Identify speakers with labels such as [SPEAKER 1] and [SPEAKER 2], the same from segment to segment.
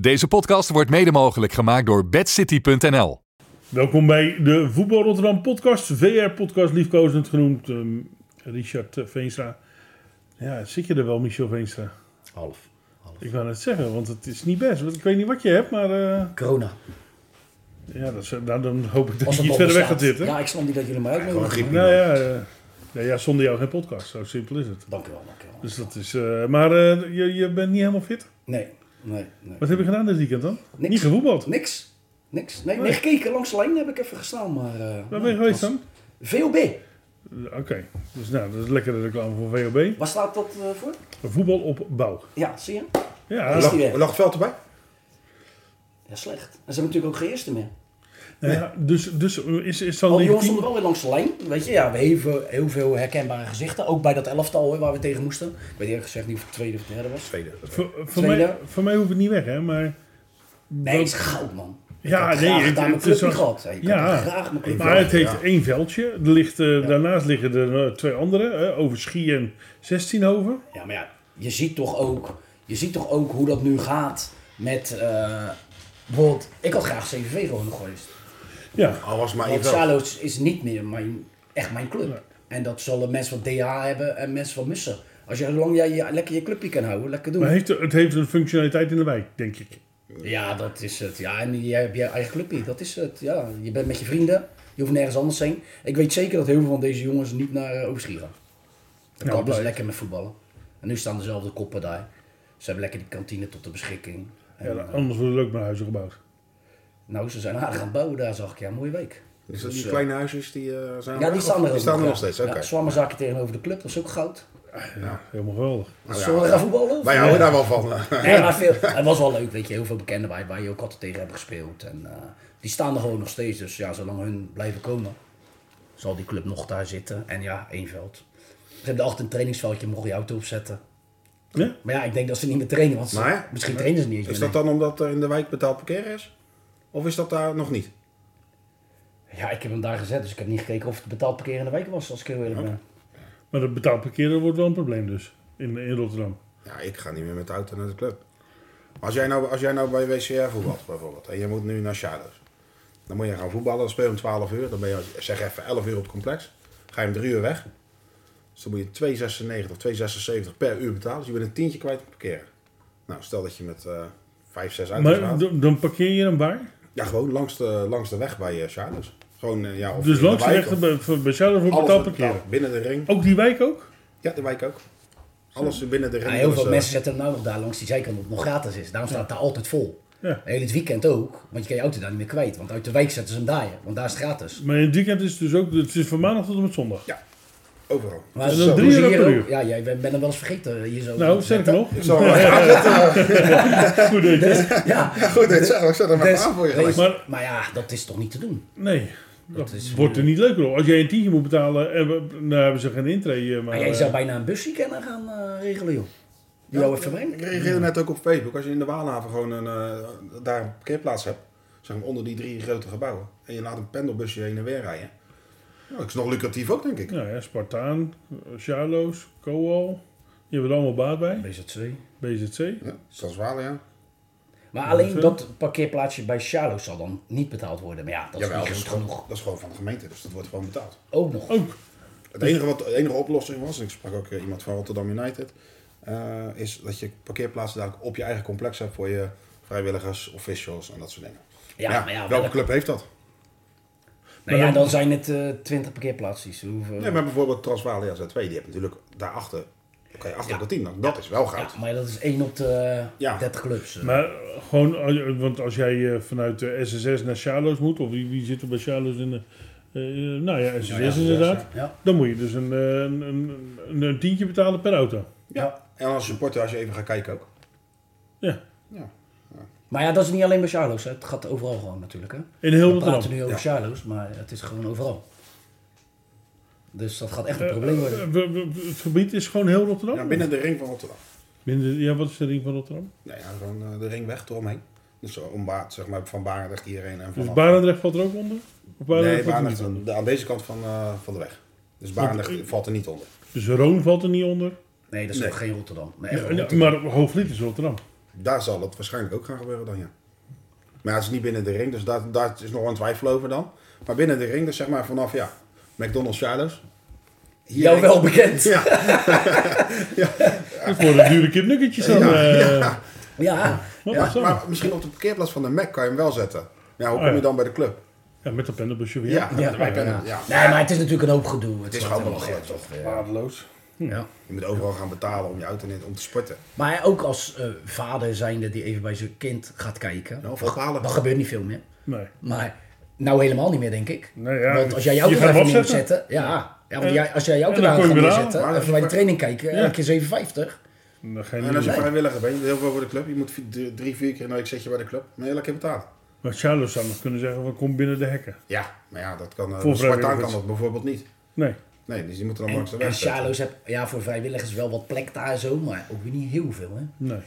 [SPEAKER 1] Deze podcast wordt mede mogelijk gemaakt door bedcity.nl.
[SPEAKER 2] Welkom bij de Voetbal Rotterdam podcast, VR-podcast, liefkozend genoemd. ehm, Richard eh, Veenstra. Ja, zit je er wel, Michel Veenstra?
[SPEAKER 3] Half. Half.
[SPEAKER 2] Ik wou net zeggen, want het is niet best. Want ik weet niet wat je hebt, maar eh,
[SPEAKER 3] Corona.
[SPEAKER 2] ja, dat is, nou, dan hoop ik dat
[SPEAKER 3] Als
[SPEAKER 2] je
[SPEAKER 3] het
[SPEAKER 2] niet
[SPEAKER 3] nog
[SPEAKER 2] verder weg gaat
[SPEAKER 3] bestaat.
[SPEAKER 2] zitten.
[SPEAKER 3] Ja, ik snap niet dat jullie mij
[SPEAKER 2] Nou
[SPEAKER 3] uitnodigen.
[SPEAKER 2] ja, eh, nou ja, zonder jou geen podcast. Zo simpel is het.
[SPEAKER 3] Dank u wel, dank u wel.
[SPEAKER 2] Dus dat is, eh, maar eh, je, je bent niet helemaal fit.
[SPEAKER 3] Nee, nee, nee.
[SPEAKER 2] Wat heb je gedaan dit weekend dan?
[SPEAKER 3] Niks.
[SPEAKER 2] Niet gevoetbald.
[SPEAKER 3] Niks. Niks. Nee,
[SPEAKER 2] Nee.
[SPEAKER 3] nee, gekeken. Langs de lijn heb ik even gestaan, maar... eh,
[SPEAKER 2] Waar ben
[SPEAKER 3] nee,
[SPEAKER 2] je geweest
[SPEAKER 3] was-
[SPEAKER 2] dan?
[SPEAKER 3] VOB.
[SPEAKER 2] Eh, Oké, dus nou, dat is lekkere reclame voor VOB.
[SPEAKER 3] Waar staat dat eh, voor?
[SPEAKER 2] Voetbal op bouw.
[SPEAKER 3] Ja, zie je?
[SPEAKER 2] Ja,
[SPEAKER 3] Is die weg?
[SPEAKER 4] Er lag veld erbij.
[SPEAKER 3] Ja, slecht. En ze hebben natuurlijk ook geen eerste meer.
[SPEAKER 2] Nou ja, dus, dus is, is dan
[SPEAKER 3] Al die
[SPEAKER 2] een
[SPEAKER 3] jongens
[SPEAKER 2] team-
[SPEAKER 3] stonden wel weer langs de lijn. Weet je, ja, we hebben heel veel- heel veel herkenbare gezichten. Ook bij dat elftal hoor, waar we tegen moesten. Ik weet eerlijk gezegd niet of het tweede of derde was.
[SPEAKER 4] Tweede.
[SPEAKER 2] voor, voor,
[SPEAKER 3] Tweede.
[SPEAKER 2] mij, voor mij hoeft het niet weg, hè? Maar,
[SPEAKER 3] Nee, het is goud, man. Ik
[SPEAKER 2] Ja,
[SPEAKER 3] had
[SPEAKER 2] nee,
[SPEAKER 3] graag
[SPEAKER 2] het-
[SPEAKER 3] daar mijn
[SPEAKER 2] het is
[SPEAKER 3] clubje
[SPEAKER 2] wel-
[SPEAKER 3] gehad. Ik
[SPEAKER 2] Ja.
[SPEAKER 3] had graag mijn clubje
[SPEAKER 2] maar het
[SPEAKER 3] gehad.
[SPEAKER 2] heeft één veldje. Er ligt, eh, Daarnaast liggen er eh, twee andere, eh, over Schie en 16 over.
[SPEAKER 3] Ja, maar ja, je ziet toch ook, je ziet toch ook hoe dat nu gaat met... eh, bijvoorbeeld, ik had graag CVV gewoon nog geweest.
[SPEAKER 2] Ja,
[SPEAKER 4] Al Oh, was het maar één
[SPEAKER 3] Want
[SPEAKER 4] veld.
[SPEAKER 3] Salos is niet meer mijn, echt mijn club. En dat zullen mensen van DH hebben en mensen van Mussen. Als je, zolang jij je, lekker je clubje kan houden, lekker doen.
[SPEAKER 2] maar heeft, het heeft een functionaliteit in de wijk, denk ik.
[SPEAKER 3] Ja, dat is het. Ja, en jij hebt je eigen clubje. Dat is het. Ja, je bent met je vrienden. Je hoeft nergens anders heen. Ik weet zeker dat heel veel van deze jongens niet naar eh, Overschie gaan.
[SPEAKER 2] Ja,
[SPEAKER 3] Dan kan dus
[SPEAKER 2] blijkt.
[SPEAKER 3] lekker met voetballen. En nu staan dezelfde koppen daar. Ze hebben lekker die kantine tot de beschikking. En,
[SPEAKER 2] Ja,
[SPEAKER 3] eh,
[SPEAKER 2] anders worden er ook maar huizen gebouwd.
[SPEAKER 3] nou, ze zijn aardig aan het bouwen daar, zag ik. Ja, mooie week.
[SPEAKER 4] Is dat die
[SPEAKER 3] eh,
[SPEAKER 4] kleine huisjes die eh, zijn
[SPEAKER 3] Ja, die
[SPEAKER 4] weg?
[SPEAKER 3] staan er ook
[SPEAKER 4] Die staan er nog steeds,
[SPEAKER 3] ja.
[SPEAKER 4] oké.
[SPEAKER 3] Ja, Zwammerzaakje tegenover de club, dat is ook goud.
[SPEAKER 2] Helemaal geweldig.
[SPEAKER 4] Nou ja,
[SPEAKER 3] Zullen we gaan voetballen? of-
[SPEAKER 4] Wij houden daar wel van.
[SPEAKER 3] Nee, maar veel. Het was wel leuk, weet je. Heel veel bekenden waar, waar je ook altijd tegen hebt gespeeld. En eh, die staan er gewoon nog steeds. Dus ja, zolang hun blijven komen, zal die club nog daar zitten. En ja, één veld. Ze hebben achter een trainingsveldje, mocht je auto opzetten.
[SPEAKER 2] Ja?
[SPEAKER 3] Maar ja, ik denk dat ze niet meer trainen, want ze-
[SPEAKER 4] Maar ja.
[SPEAKER 3] misschien trainen ze niet eens
[SPEAKER 4] Is
[SPEAKER 3] meer.
[SPEAKER 4] dat dan omdat er in de wijk betaald parkeren is? Of is dat daar nog niet?
[SPEAKER 3] Ja, ik heb hem daar gezet, dus ik heb niet gekeken of het betaald parkeren in de wijk was, als ik heel eerlijk
[SPEAKER 4] Oh.
[SPEAKER 3] ben.
[SPEAKER 2] Maar dat betaald parkeren wordt wel een probleem dus, in, in Rotterdam.
[SPEAKER 4] Ja, ik ga niet meer met de auto naar de club. Maar Als jij nou, als jij nou bij WCR voetbalt bijvoorbeeld en je moet nu naar Shadows. Dan moet je gaan voetballen, dan speel je om 12 uur. Dan ben je, zeg even 11 uur op het complex. Ga je om 3 uur weg. Dus dan moet je 2,96 of 2,76 per uur betalen. Dus je bent een tientje kwijt op parkeren. Nou, stel dat je met eh 5, 6 auto's
[SPEAKER 2] Maar
[SPEAKER 4] gaat.
[SPEAKER 2] dan- dan parkeer je hem waar?
[SPEAKER 4] Ja, gewoon langs de, langs de weg bij eh Shadows. Gewoon, eh, ja, of in
[SPEAKER 2] Dus langs de
[SPEAKER 4] wijk,
[SPEAKER 2] rechter
[SPEAKER 4] of-
[SPEAKER 2] bij, voor- bij Sjaarden voor
[SPEAKER 4] alles
[SPEAKER 2] betaald
[SPEAKER 4] wordt
[SPEAKER 2] parkeren.
[SPEAKER 4] betaald. Binnen de ring.
[SPEAKER 2] Ook die wijk ook?
[SPEAKER 4] Ja, de wijk ook. Alles binnen de
[SPEAKER 3] Ja,
[SPEAKER 4] ring.
[SPEAKER 3] heel
[SPEAKER 4] Dus,
[SPEAKER 3] veel
[SPEAKER 4] eh,
[SPEAKER 3] mensen zetten hem nou nog daar langs die zijkant, omdat het nog gratis is. Daarom staat het daar altijd vol.
[SPEAKER 2] Ja.
[SPEAKER 3] En het weekend ook, want je kan je auto daar niet meer kwijt. Want uit de wijk zetten ze hem daar, want daar is het gratis.
[SPEAKER 2] Maar in het weekend is het dus ook, het is van maandag tot en met zondag.
[SPEAKER 4] Ja, overal.
[SPEAKER 3] Maar
[SPEAKER 2] Dus dan
[SPEAKER 3] zo,
[SPEAKER 2] drie
[SPEAKER 3] zie
[SPEAKER 2] euro
[SPEAKER 3] je
[SPEAKER 2] per
[SPEAKER 3] ook-
[SPEAKER 2] uur.
[SPEAKER 3] Ja, jij bent hem wel eens vergeten eh, hier zo.
[SPEAKER 2] Nou, zeg ik nog.
[SPEAKER 4] Ik zal wel graag het
[SPEAKER 2] Goed eten.
[SPEAKER 3] Ja,
[SPEAKER 4] goed dit zeggen. Ik zet er maar
[SPEAKER 3] dus-
[SPEAKER 4] aan voor je.
[SPEAKER 3] dus-
[SPEAKER 4] gelijk.
[SPEAKER 2] Maar-
[SPEAKER 3] maar, ja, dat is toch niet te doen?
[SPEAKER 2] Nee, dat,
[SPEAKER 3] is- eh,
[SPEAKER 2] wordt er niet leuker op. Als jij een tientje moet betalen, en we, nou hebben ze geen intree. eh, Maar,
[SPEAKER 4] Nou,
[SPEAKER 3] Maar jij
[SPEAKER 2] eh,
[SPEAKER 3] zou bijna een busje kennen gaan eh, regelen, joh. Die jou even brengt.
[SPEAKER 4] Ik reageerde net ook op Facebook. Als je in de Waalhaven gewoon een, eh, daar een parkeerplaats hebt, zeg maar onder die drie grote gebouwen, en je laat een pendelbusje heen en weer rijden, nou, dat is nog lucratief ook, denk ik.
[SPEAKER 2] Nou ja, Spartaan, eh, Charlo's, Coal. Die hebben er allemaal baat bij.
[SPEAKER 3] BZC.
[SPEAKER 2] BZC.
[SPEAKER 4] Ja, dat is waar, ja.
[SPEAKER 3] Maar alleen dat parkeerplaatsje bij Charlo zal dan niet betaald worden. Maar ja, dat is
[SPEAKER 4] Jawel,
[SPEAKER 3] niet
[SPEAKER 4] dat is, Oh,
[SPEAKER 3] goed
[SPEAKER 4] gewoon,
[SPEAKER 3] genoeg.
[SPEAKER 4] dat is gewoon van de gemeente, dus dat wordt gewoon betaald.
[SPEAKER 3] Ook nog. Nou
[SPEAKER 2] Ook.
[SPEAKER 4] Het enige wat de enige oplossing was, en ik sprak ook eh, iemand van Rotterdam United, eh, is dat je parkeerplaatsen dadelijk op je eigen complex hebt voor je vrijwilligers, officials en dat soort dingen.
[SPEAKER 3] Ja,
[SPEAKER 4] Maar
[SPEAKER 3] maar ja,
[SPEAKER 4] welke
[SPEAKER 3] welk-
[SPEAKER 4] club heeft dat?
[SPEAKER 3] Nou ja, dan zijn het twintig parkeerplaatsjes. Hoeveel...
[SPEAKER 4] Nee, maar bijvoorbeeld Transvalia Z2, die hebt natuurlijk daarachter, oké, achter
[SPEAKER 3] Ja.
[SPEAKER 4] dat team dan. Dat is wel goud.
[SPEAKER 3] Ja, maar dat is één op de
[SPEAKER 4] Ja.
[SPEAKER 3] 30 clubs. eh.
[SPEAKER 2] Maar eh, gewoon, als je- want als jij eh, vanuit de SSS naar Charlo's moet, of wie, wie zit er bij Charlo's in de... eh, nou ja, SSS inderdaad.
[SPEAKER 3] ja.
[SPEAKER 2] Dan moet je dus een, eh, een, een, een, een tientje betalen per auto.
[SPEAKER 4] Ja, en als supporter, als je even gaat kijken ook.
[SPEAKER 2] Ja,
[SPEAKER 4] Ja.
[SPEAKER 3] Maar ja, dat is niet alleen bij Charlo's. hè. Het gaat overal gewoon natuurlijk. Hè?
[SPEAKER 2] in heel
[SPEAKER 3] We praten
[SPEAKER 2] Rotterdam.
[SPEAKER 3] nu over Charlo's, maar het is gewoon overal. Dus dat gaat echt een probleem worden.
[SPEAKER 2] Eh, we- we- Het gebied is gewoon heel Rotterdam?
[SPEAKER 4] Ja, binnen de ring van Rotterdam.
[SPEAKER 2] Binnen- ja, wat is de ring van Rotterdam?
[SPEAKER 4] Nee, ja, gewoon eh, de ringweg eromheen. Dus eh, om Ba- zeg maar, van Barendrecht hierheen en
[SPEAKER 2] Dus
[SPEAKER 4] van...
[SPEAKER 2] Barendrecht valt er ook onder? Of
[SPEAKER 4] Nee,
[SPEAKER 2] valt er niet
[SPEAKER 4] Barendrecht
[SPEAKER 2] onder?
[SPEAKER 4] aan, de- aan deze kant van, eh, van de weg. Dus Barendrecht valt er niet onder.
[SPEAKER 2] Dus Roon valt er niet onder?
[SPEAKER 3] Nee, dat is
[SPEAKER 4] Nee.
[SPEAKER 3] nog geen Rotterdam. Nee, echt
[SPEAKER 2] Ja,
[SPEAKER 3] Rotterdam.
[SPEAKER 2] maar Hoofdvliet is Rotterdam.
[SPEAKER 4] Daar zal het waarschijnlijk ook gaan gebeuren dan, ja. Maar ja, het is niet binnen de ring, dus daar, daar is nog een twijfel over dan. Maar binnen de ring, dus zeg maar vanaf, ja, McDonald's Charles. Hier-
[SPEAKER 3] Jou wel bekend.
[SPEAKER 4] Ja,
[SPEAKER 2] Dat worden dure kipnuggetjes dan. eh.
[SPEAKER 3] Ja,
[SPEAKER 2] Ja,
[SPEAKER 4] maar, maar misschien op de parkeerplaats van de Mac kan je hem wel zetten. Nou, hoe
[SPEAKER 2] Oh,
[SPEAKER 4] kom
[SPEAKER 2] ja.
[SPEAKER 4] je dan bij de club?
[SPEAKER 2] ja, met dat pendelbusje weer.
[SPEAKER 4] Ja,
[SPEAKER 3] Ja,
[SPEAKER 4] wij kunnen- ja.
[SPEAKER 3] Nee, maar het is natuurlijk een hoop gedoe. Het,
[SPEAKER 4] is
[SPEAKER 3] wordt
[SPEAKER 4] gewoon
[SPEAKER 3] helemaal
[SPEAKER 4] belachelijk,
[SPEAKER 3] gek, toch? Ja.
[SPEAKER 2] Waardeloos.
[SPEAKER 3] Ja.
[SPEAKER 4] Je moet overal gaan betalen om je auto in, om te sporten.
[SPEAKER 3] Maar ook als eh, vader zijnde die even bij zijn kind gaat kijken.
[SPEAKER 4] Nou, of bepalen.
[SPEAKER 3] Dat gebeurt niet veel meer.
[SPEAKER 2] Nee.
[SPEAKER 3] Maar nou helemaal niet meer, denk ik.
[SPEAKER 2] Nou ja,
[SPEAKER 3] want als jij je
[SPEAKER 2] je
[SPEAKER 3] auto
[SPEAKER 2] gaat
[SPEAKER 3] daar even
[SPEAKER 2] hem
[SPEAKER 3] neer moet
[SPEAKER 2] opzetten.
[SPEAKER 3] zetten... Ja, ja want
[SPEAKER 2] Ja.
[SPEAKER 3] jij, als jij je auto
[SPEAKER 2] En dan
[SPEAKER 3] daar
[SPEAKER 2] kom
[SPEAKER 3] gaat
[SPEAKER 2] je weer aan.
[SPEAKER 3] neerzetten...
[SPEAKER 4] Maar
[SPEAKER 3] even bij de
[SPEAKER 4] als
[SPEAKER 3] training kijken,
[SPEAKER 2] Ja.
[SPEAKER 3] elke keer 7,50.
[SPEAKER 2] Nou, geen
[SPEAKER 4] En als je
[SPEAKER 2] idee.
[SPEAKER 4] vrijwilliger bent, heel veel voor de club. Je moet vi- drie, drie, vier keer in de week zit je bij de club. Maar je lekker betalen.
[SPEAKER 2] Maar Charles zou nog kunnen zeggen van kom binnen de hekken.
[SPEAKER 4] Ja, maar ja, dat kan. eh,
[SPEAKER 2] Voor
[SPEAKER 4] Spartaan
[SPEAKER 2] vrijwilligers.
[SPEAKER 4] kan dat bijvoorbeeld niet.
[SPEAKER 2] Nee.
[SPEAKER 4] Nee, dus die moeten dan
[SPEAKER 3] En,
[SPEAKER 4] langs de
[SPEAKER 3] en
[SPEAKER 4] weg. zetten.
[SPEAKER 3] Charlo's heb ja, voor vrijwilligers wel wat plek daar zo, maar ook weer niet heel veel. Hè.
[SPEAKER 2] Nee.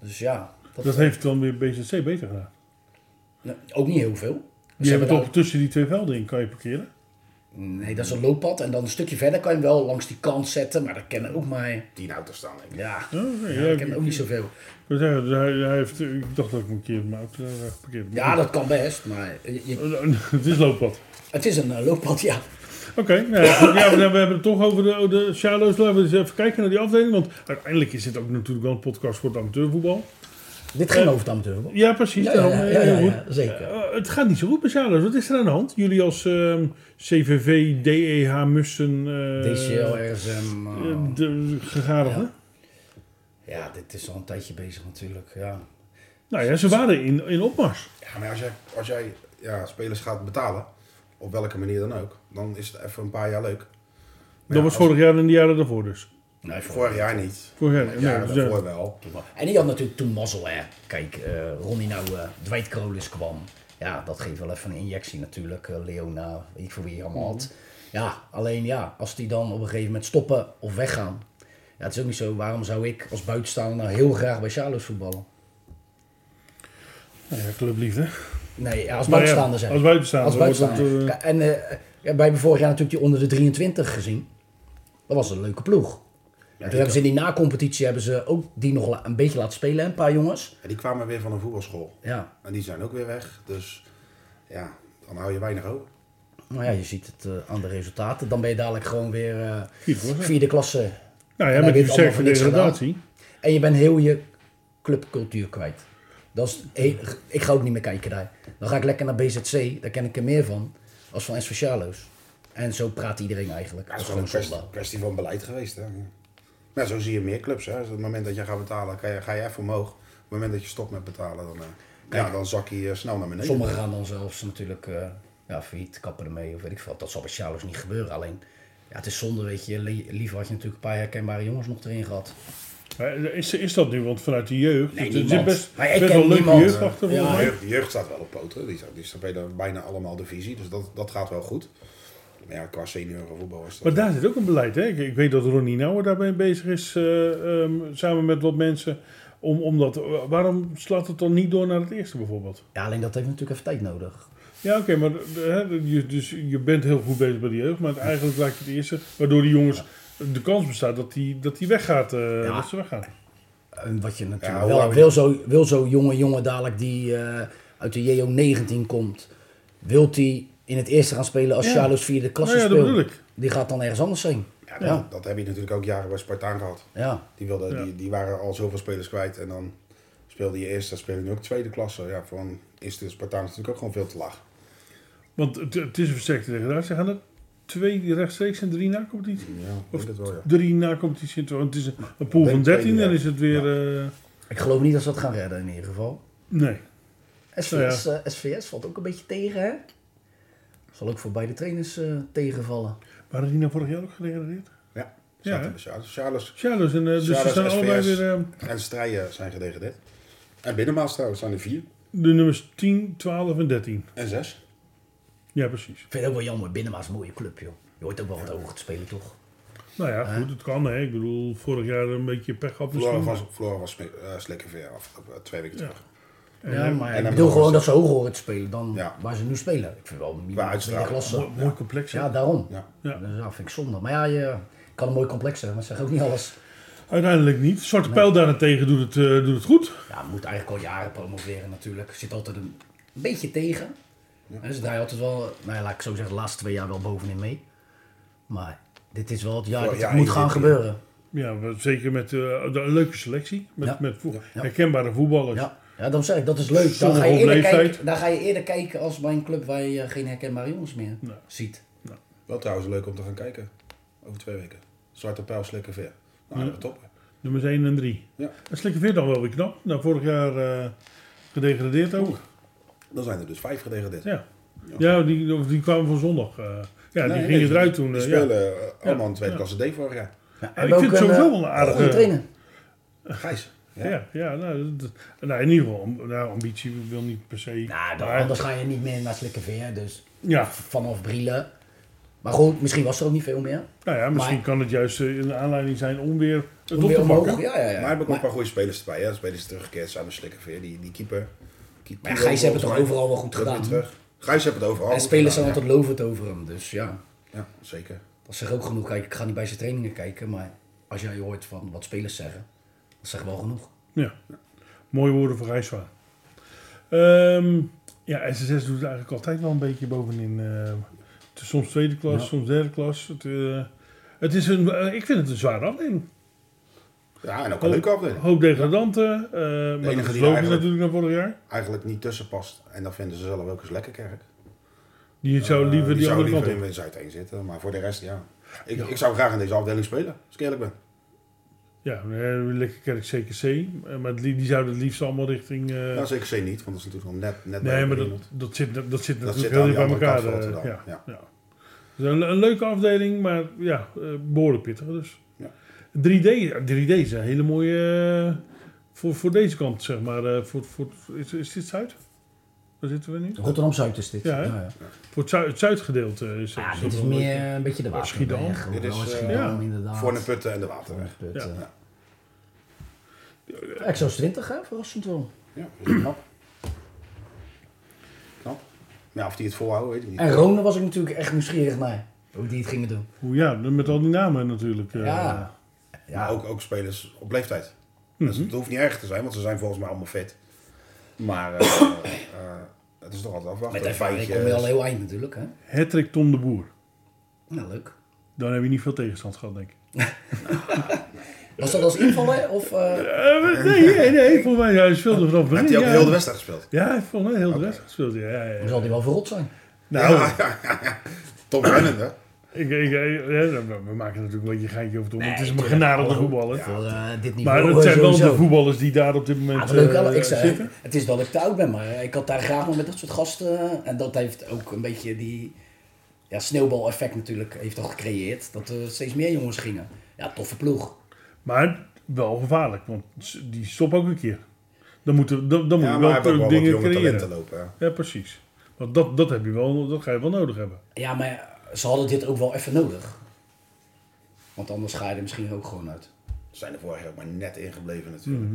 [SPEAKER 3] Dus ja, dat,
[SPEAKER 2] Dat heeft dan weer BZC beter gedaan.
[SPEAKER 3] nou, ook niet heel veel.
[SPEAKER 2] Je hebt
[SPEAKER 3] daar-
[SPEAKER 2] toch tussen die twee velden in kan je parkeren.
[SPEAKER 3] Nee, dat is een looppad. En dan een stukje verder kan je hem wel langs die kant zetten. Maar dat kennen ook maar...
[SPEAKER 4] Tien auto's staan, denk ik.
[SPEAKER 3] Ja,
[SPEAKER 2] Oh, nee, ja,
[SPEAKER 3] ja, dat
[SPEAKER 2] ik-
[SPEAKER 3] kennen ook niet zoveel.
[SPEAKER 2] Ik wil zeggen, hij, hij heeft, ik dacht dat ik een keer mijn auto eh, daar geparkeerd
[SPEAKER 3] Ja, dat kan best. Maar je- je-
[SPEAKER 2] Het is looppad.
[SPEAKER 3] het is een eh, looppad, ja.
[SPEAKER 2] Oké, nou ja, goed. ja, we hebben het toch over de, oh, de Charlo's. Laten we eens even kijken naar die afdeling. Want uiteindelijk is dit ook natuurlijk wel een podcast voor het amateurvoetbal.
[SPEAKER 3] Dit ging over het amateurvoetbal.
[SPEAKER 2] Ja, precies.
[SPEAKER 3] Ja,
[SPEAKER 2] daarom,
[SPEAKER 3] ja,
[SPEAKER 2] eh,
[SPEAKER 3] ja, ja,
[SPEAKER 2] heel
[SPEAKER 3] ja,
[SPEAKER 2] goed.
[SPEAKER 3] zeker.
[SPEAKER 2] Eh, het gaat niet zo goed met Charlo's. Wat is er aan de hand? Jullie als ehm, CVV, DEH, E Mussen... eh,
[SPEAKER 3] DCLRSM.
[SPEAKER 2] eh, de gegadigden.
[SPEAKER 3] E Ja. ja, dit is al een tijdje bezig natuurlijk. Ja.
[SPEAKER 2] Nou ja, ze waren in, in opmars.
[SPEAKER 4] Ja, maar als jij, als jij ja, spelers gaat betalen, op welke manier dan ook, dan is het even een paar jaar leuk.
[SPEAKER 2] dat was vorig jaar en de jaren daarvoor dus.
[SPEAKER 3] Nee, voor-
[SPEAKER 4] Vorig jaar niet.
[SPEAKER 2] Vorig jaar,
[SPEAKER 4] Maar
[SPEAKER 2] nee,
[SPEAKER 4] jaren
[SPEAKER 2] dus,
[SPEAKER 4] daarvoor
[SPEAKER 2] eh,
[SPEAKER 4] wel.
[SPEAKER 3] En die had natuurlijk toen mazzel, hè. Kijk, eh Ronnie nou, eh Dwight Krolis kwam. Ja, dat geeft wel even een injectie natuurlijk. Eh, Leona, weet ik veel wie je allemaal had.
[SPEAKER 2] Mhm.
[SPEAKER 3] Ja, alleen ja, als die dan op een gegeven moment stoppen of weggaan. Ja, het is ook niet zo. Waarom zou ik als buitenstaander nou heel graag bij Charlo's voetballen?
[SPEAKER 2] nou ja, clubliefde.
[SPEAKER 3] Nee, ja, als
[SPEAKER 2] Maar Nou ja,
[SPEAKER 3] buitenstaander zijn.
[SPEAKER 2] als buitenstaander wordt
[SPEAKER 3] Als buitenstaander.
[SPEAKER 2] dat,
[SPEAKER 3] Ja, En eh, ja, wij hebben vorig jaar natuurlijk die onder de 23 gezien. Dat was een leuke ploeg. En toen hebben ze in die nacompetitie hebben ze ook die nog la- een beetje laten spelen, hè, een paar jongens.
[SPEAKER 4] En die kwamen weer van een voetbalschool.
[SPEAKER 3] Ja,
[SPEAKER 4] En die zijn ook weer weg. Dus ja, dan hou je weinig over.
[SPEAKER 3] Nou ja, je ziet het eh, aan de resultaten. Dan ben je dadelijk gewoon weer eh,
[SPEAKER 2] Vierde klasse.
[SPEAKER 3] vierde klasse.
[SPEAKER 2] Nou ja, met
[SPEAKER 3] Dan heb je
[SPEAKER 2] die
[SPEAKER 3] het allemaal
[SPEAKER 2] sterke
[SPEAKER 3] voor niks gedaan.
[SPEAKER 2] degradatie.
[SPEAKER 3] En je bent heel je clubcultuur kwijt. Dat is, he- ik ga ook niet meer kijken daar. Dan ga ik lekker naar BZC. Daar ken ik er meer van. Als van SV Charlo's. En zo praat iedereen eigenlijk.
[SPEAKER 4] Ja,
[SPEAKER 3] Dat
[SPEAKER 4] dat
[SPEAKER 3] is
[SPEAKER 4] is wel een
[SPEAKER 3] gewoon zonde.
[SPEAKER 4] kwestie, kwestie van beleid geweest. Hè? Ja. Maar ja, zo zie je meer clubs. Hè? Dus op het moment dat je gaat betalen, ga je, ga je even omhoog. Op het moment dat je stopt met betalen, dan, eh, ja, dan zak je eh, snel naar beneden.
[SPEAKER 3] Sommigen gaan dan zelfs natuurlijk eh ja, failliet, kappen ermee of weet ik veel. wat. Dat zal bij Charlo's niet gebeuren. Alleen, ja, het is zonde, weet je. li- Liever had je natuurlijk een paar herkenbare jongens nog erin gehad.
[SPEAKER 2] Maar eh, Is, is dat nu? Want vanuit de jeugd.
[SPEAKER 3] Nee,
[SPEAKER 2] er
[SPEAKER 3] niemand.
[SPEAKER 2] best,
[SPEAKER 3] Maar ik
[SPEAKER 2] best
[SPEAKER 3] ken
[SPEAKER 2] wel leuke
[SPEAKER 3] niemand.
[SPEAKER 2] jeugd achter.
[SPEAKER 3] Ja.
[SPEAKER 2] volgens mij.
[SPEAKER 4] De jeugd, de jeugd staat wel op poten. Die, die spelen bijna allemaal divisie. Dus dat, dat gaat wel goed. Maar ja, qua senioren voetbal is dat...
[SPEAKER 2] Maar daar zit ook een beleid. Hè? Ik, ik weet dat Ronnie Nouwer daarbij bezig is. eh, ehm, samen met wat mensen. Om, om dat, eh, waarom slaat het dan niet door naar het eerste bijvoorbeeld?
[SPEAKER 3] Ja, alleen dat heeft natuurlijk even tijd nodig.
[SPEAKER 2] Ja, oké, maar eh, je, dus je bent heel goed bezig bij de jeugd, maar eigenlijk lijkt het eerste, waardoor die jongens de kans bestaat dat die, dat die weggaat, eh,
[SPEAKER 3] Ja.
[SPEAKER 2] dat ze weggaan.
[SPEAKER 3] En wat je natuurlijk
[SPEAKER 4] Ja, hoe
[SPEAKER 3] wel
[SPEAKER 4] lang-
[SPEAKER 3] wil, zo, wil zo'n jonge jongen dadelijk die eh, uit de JO19 komt, wilt hij in het eerste gaan spelen als
[SPEAKER 2] Ja.
[SPEAKER 3] Charlo's vierde klasse
[SPEAKER 2] Nou ja, dat
[SPEAKER 3] speelt?
[SPEAKER 2] bedoel ik.
[SPEAKER 3] Die gaat dan ergens anders heen.
[SPEAKER 4] Ja, dat,
[SPEAKER 3] Ja.
[SPEAKER 4] dat heb je natuurlijk ook jaren bij Spartaan gehad.
[SPEAKER 3] Ja.
[SPEAKER 4] Die, wilden,
[SPEAKER 2] Ja.
[SPEAKER 4] die, die waren al zoveel spelers kwijt. En dan speelde je eerst, dan speelde je nu ook tweede klasse. Ja, voor een eerste Spartaan is natuurlijk ook gewoon veel te laag.
[SPEAKER 2] Want het, het is een versterkte degradatie. Gaan er twee rechtstreeks en drie na competitie?
[SPEAKER 4] Ja, ik
[SPEAKER 2] Of
[SPEAKER 4] denk het wel, ja.
[SPEAKER 2] drie na competitie? want Het is een, een pool
[SPEAKER 4] denk
[SPEAKER 2] van
[SPEAKER 4] twee,
[SPEAKER 2] 13 en
[SPEAKER 4] ja.
[SPEAKER 2] is het weer... eh,
[SPEAKER 3] Ik geloof niet dat ze dat gaan redden in ieder geval.
[SPEAKER 2] nee. Nou
[SPEAKER 3] SVS, eh, SVS valt ook een beetje tegen, hè? Zal ook voor beide trainers eh, tegenvallen.
[SPEAKER 2] Waren die nou vorig jaar ook gedegradeerd?
[SPEAKER 4] Ja,
[SPEAKER 2] Ja, hè?
[SPEAKER 4] ja. Charles. Charles
[SPEAKER 2] Charles en eh, dus ze
[SPEAKER 4] Charles,
[SPEAKER 2] zijn allebei
[SPEAKER 4] SVS.
[SPEAKER 2] weer eh,
[SPEAKER 4] en Strijen zijn gedegradeerd. En Binnenmaas trouwens zijn er vier.
[SPEAKER 2] de nummers 10, 12 en 13.
[SPEAKER 4] En zes.
[SPEAKER 2] Ja, precies.
[SPEAKER 3] Ik vind het ook wel jammer. Binnenmaas is een mooie club, joh. Je hoort ook wel wat over te spelen, toch?
[SPEAKER 2] Nou ja, goed, het kan hè. Ik bedoel, vorig jaar een beetje pech gehad
[SPEAKER 4] Floren
[SPEAKER 2] misschien,
[SPEAKER 4] was,
[SPEAKER 2] maar-
[SPEAKER 4] Floren was smi- eh, slikkenveer afgelopen eh, twee weken terug.
[SPEAKER 3] Ja,
[SPEAKER 2] eh,
[SPEAKER 3] maar
[SPEAKER 4] en
[SPEAKER 3] ik
[SPEAKER 4] dan
[SPEAKER 3] bedoel
[SPEAKER 4] nog
[SPEAKER 3] gewoon
[SPEAKER 4] eens-
[SPEAKER 3] dat ze hoger horen te spelen dan
[SPEAKER 4] Ja.
[SPEAKER 3] waar ze nu spelen. Ik vind wel een
[SPEAKER 4] Qua
[SPEAKER 3] minimaal tweede
[SPEAKER 4] uitstraling.
[SPEAKER 3] klasse.
[SPEAKER 2] Mooi complex hè.
[SPEAKER 3] Ja, daarom.
[SPEAKER 4] Ja.
[SPEAKER 2] Ja.
[SPEAKER 3] Dus dat vind ik zonde. Maar ja, je kan een mooi complex hebben, maar het zegt ook niet alles.
[SPEAKER 2] Uiteindelijk niet. Zwarte Pijl daarentegen doet het, eh, doet het goed.
[SPEAKER 3] Ja, moet eigenlijk al jaren promoveren natuurlijk. Zit altijd een, een beetje tegen. En ze draaien altijd wel, nou ja, laat ik zo zeggen, de laatste twee jaar wel bovenin mee. Maar dit is wel het jaar dat
[SPEAKER 4] Vorig
[SPEAKER 3] het
[SPEAKER 4] jaar
[SPEAKER 3] moet
[SPEAKER 4] is
[SPEAKER 3] gaan
[SPEAKER 4] dit, ja.
[SPEAKER 3] gebeuren.
[SPEAKER 2] Ja, we- zeker met eh, de- een leuke selectie. Met,
[SPEAKER 3] Ja.
[SPEAKER 2] met vo-
[SPEAKER 3] Ja.
[SPEAKER 2] herkenbare voetballers.
[SPEAKER 3] Ja. ja, dan zeg ik, dat is leuk. Dan
[SPEAKER 2] Sommige
[SPEAKER 3] ga, je
[SPEAKER 2] op
[SPEAKER 3] eerder
[SPEAKER 2] leeftijd.
[SPEAKER 3] kijken, dan ga je eerder kijken als bij een club waar je eh, geen herkenbare jongens meer
[SPEAKER 2] Nee.
[SPEAKER 3] ziet.
[SPEAKER 4] Wel trouwens leuk om te gaan kijken. Over twee weken. Zwarte pijl, slikken ver. Nou,
[SPEAKER 2] Ja.
[SPEAKER 4] dat top.
[SPEAKER 2] Nummers 1 en 3.
[SPEAKER 4] Ja.
[SPEAKER 2] Dat slikken weer dan wel weer knap. Nou, vorig jaar eh, gedegradeerd ook.
[SPEAKER 4] Dan zijn er dus vijf gedegradeerd.
[SPEAKER 2] Ja, ja die, of die kwamen van zondag. eh. ja,
[SPEAKER 4] Nee,
[SPEAKER 2] die
[SPEAKER 4] nee,
[SPEAKER 2] gingen eruit toen.
[SPEAKER 4] Die
[SPEAKER 2] eh, ja.
[SPEAKER 4] spelen eh, allemaal in tweede
[SPEAKER 2] Ja.
[SPEAKER 4] klasse D vorig jaar.
[SPEAKER 3] Ja,
[SPEAKER 2] ik vind het sowieso wel een aardige-
[SPEAKER 3] eh, goede trainer.
[SPEAKER 4] Gijs.
[SPEAKER 2] Ja, ja, nou, dat- nou, in ieder geval, am- nou, ambitie wil niet per se.
[SPEAKER 3] Nou, dan,
[SPEAKER 2] maar-
[SPEAKER 3] anders ga je niet meer naar Slikkeveer, dus
[SPEAKER 2] Ja,
[SPEAKER 3] vanaf Brielen. Maar goed, misschien was er ook niet veel meer.
[SPEAKER 2] nou ja, misschien
[SPEAKER 3] Maar-
[SPEAKER 2] kan het juist eh, een aanleiding zijn om weer het
[SPEAKER 3] Om
[SPEAKER 2] op
[SPEAKER 3] weer
[SPEAKER 2] te
[SPEAKER 3] omhoog,
[SPEAKER 2] pakken.
[SPEAKER 3] ja, ja, ja.
[SPEAKER 4] Maar heb ik ook
[SPEAKER 3] Maar-
[SPEAKER 4] een paar goede spelers erbij. Ja, spelers die teruggekeerd zijn met slikken veer. Die, die keeper. Keep-
[SPEAKER 3] Maar ja, Gijs hebben het toch
[SPEAKER 4] volgens mij.
[SPEAKER 3] overal wel goed
[SPEAKER 4] Terug weer
[SPEAKER 3] gedaan.
[SPEAKER 4] Terug. Gijs hebben het overal.
[SPEAKER 3] En
[SPEAKER 4] goed
[SPEAKER 3] spelers zijn
[SPEAKER 4] gedaan,
[SPEAKER 3] altijd lovend over hem, dus ja.
[SPEAKER 4] ja. Ja, zeker.
[SPEAKER 3] Dat zegt ook genoeg. Kijk, ik ga niet bij zijn trainingen kijken, maar als jij hoort van wat spelers zeggen, dat zegt wel genoeg.
[SPEAKER 2] Ja. Mooie woorden voor Rijswa. Ehm ja, SSS doet het eigenlijk altijd wel een beetje bovenin. eh, het is soms tweede klas, soms derde klas. Het, eh, het is een, eh, ik vind het een zware afdeling.
[SPEAKER 4] Ja, en ook een leuke afdeling.
[SPEAKER 2] Hoop degradanten, eh maar
[SPEAKER 4] enige
[SPEAKER 2] dat is
[SPEAKER 4] die
[SPEAKER 2] logisch
[SPEAKER 4] eigenlijk-
[SPEAKER 2] natuurlijk na vorig jaar.
[SPEAKER 4] Eigenlijk niet tussen past. En dat vinden ze zelf ook eens lekker kerk. Eh,
[SPEAKER 2] Die zou liever die,
[SPEAKER 4] die zou
[SPEAKER 2] andere
[SPEAKER 4] liever
[SPEAKER 2] kant op.
[SPEAKER 4] in Zuid-1 zitten. Maar voor de rest, ja. Ik, ik zou graag in deze afdeling spelen. Als ik eerlijk ben.
[SPEAKER 2] Ja, eh, lekker kerk CKC. eh, Maar die, die zouden het liefst allemaal richting... eh,
[SPEAKER 4] Ja, Nou, zeker C niet. Want dat is natuurlijk nog net, net
[SPEAKER 2] nee,
[SPEAKER 4] bij
[SPEAKER 2] maar dat,
[SPEAKER 4] iemand.
[SPEAKER 2] dat, zit, dat, zit natuurlijk
[SPEAKER 4] zit aan
[SPEAKER 2] heel dicht
[SPEAKER 4] die
[SPEAKER 2] bij
[SPEAKER 4] andere
[SPEAKER 2] elkaar.
[SPEAKER 4] kant van
[SPEAKER 2] eh,
[SPEAKER 4] Rotterdam,
[SPEAKER 2] ja, ja.
[SPEAKER 4] ja.
[SPEAKER 2] Dus een, een leuke afdeling, maar ja, eh, behoorlijk pittig dus.
[SPEAKER 4] Ja.
[SPEAKER 2] 3D, 3D is een hele mooie... eh, voor, voor deze kant, zeg maar. eh, voor, voor, is, is dit Zuid? Waar zitten we nu?
[SPEAKER 3] Rotterdam Zuid is dit.
[SPEAKER 2] Ja, hè? Voor het, Zuid, het Zuidgedeelte. Is,
[SPEAKER 3] Ja,
[SPEAKER 2] is
[SPEAKER 3] Ah, dit
[SPEAKER 2] dat
[SPEAKER 3] is
[SPEAKER 2] wel een
[SPEAKER 3] meer een beetje de water.
[SPEAKER 2] Schiedam.
[SPEAKER 4] Dit is, eh,
[SPEAKER 2] ja,
[SPEAKER 3] inderdaad.
[SPEAKER 4] Voor de putten en de waterweg.
[SPEAKER 3] Voorneput,
[SPEAKER 2] Ja.
[SPEAKER 3] eh.
[SPEAKER 4] Ja.
[SPEAKER 3] Ja, Exo's 20, hè? Verrassend wel.
[SPEAKER 4] Ja, dat is knap. knap. Ja, of die het volhouden, weet ik niet.
[SPEAKER 3] En Rone was ik natuurlijk echt nieuwsgierig naar. Hoe die het gingen doen.
[SPEAKER 2] beetje- Ja, met al die namen natuurlijk. eh,
[SPEAKER 3] Ja.
[SPEAKER 4] Maar
[SPEAKER 3] Ja,
[SPEAKER 4] ook, ook spelers op leeftijd. Dus het hoeft niet erg te zijn, want ze zijn volgens mij allemaal fit. Maar eh, eh, het is toch altijd afwachten.
[SPEAKER 3] met ervaring
[SPEAKER 4] Feitje, eh,
[SPEAKER 3] kom je al heel eind natuurlijk, hè?
[SPEAKER 2] Hattrick Tom de Boer.
[SPEAKER 3] Nou, leuk.
[SPEAKER 2] Dan heb je niet veel tegenstand gehad, denk ik.
[SPEAKER 3] Was dat als invaller of... eh,
[SPEAKER 2] nee, nee, nee. Volgens mij hij speelde vanaf
[SPEAKER 4] Heeft hij ook heel de wedstrijd gespeeld?
[SPEAKER 2] Ja, hij volgens mij heel de wedstrijd gespeeld. Ja, ja,
[SPEAKER 3] Dan
[SPEAKER 2] ja.
[SPEAKER 3] zal die wel verrot zijn.
[SPEAKER 2] Nou,
[SPEAKER 4] Tom Lennon, hè?
[SPEAKER 2] ik, ik, ik- ja, we we maken natuurlijk een beetje een geintje over Tom. het is een genadige
[SPEAKER 4] Oh,
[SPEAKER 2] voetballer.
[SPEAKER 3] Voor eh, dit
[SPEAKER 2] Maar
[SPEAKER 3] niveau
[SPEAKER 2] het zijn wel
[SPEAKER 3] sowieso. Ah,
[SPEAKER 2] de voetballers die daar op dit moment
[SPEAKER 3] Ja, het, is leuk,
[SPEAKER 2] eh,
[SPEAKER 3] hè? ik zei,
[SPEAKER 2] zitten.
[SPEAKER 3] het is dat ik te oud ben, maar eh, ik had daar graag nog met dat soort gasten. eh, En dat heeft ook een beetje die ja, sneeuwbal-effect natuurlijk heeft dat gecreëerd. Dat er steeds meer jongens gingen. Ja, toffe ploeg.
[SPEAKER 2] Maar wel gevaarlijk, want s- die stop ook een keer. Dan moeten dan, dan
[SPEAKER 4] Ja,
[SPEAKER 2] moet
[SPEAKER 4] maar hij
[SPEAKER 2] je
[SPEAKER 4] heeft ook
[SPEAKER 2] wel
[SPEAKER 4] wel wat
[SPEAKER 2] dingen
[SPEAKER 4] jonge talenten
[SPEAKER 2] creëren.
[SPEAKER 4] lopen. hè.
[SPEAKER 2] Ja, precies. Want dat, dat, heb je wel, dat ga je wel nodig hebben.
[SPEAKER 3] Ja, maar ze hadden dit ook wel even nodig. Want anders ga je er misschien ook gewoon uit.
[SPEAKER 4] Ze zijn er vorig jaar ook maar net ingebleven natuurlijk.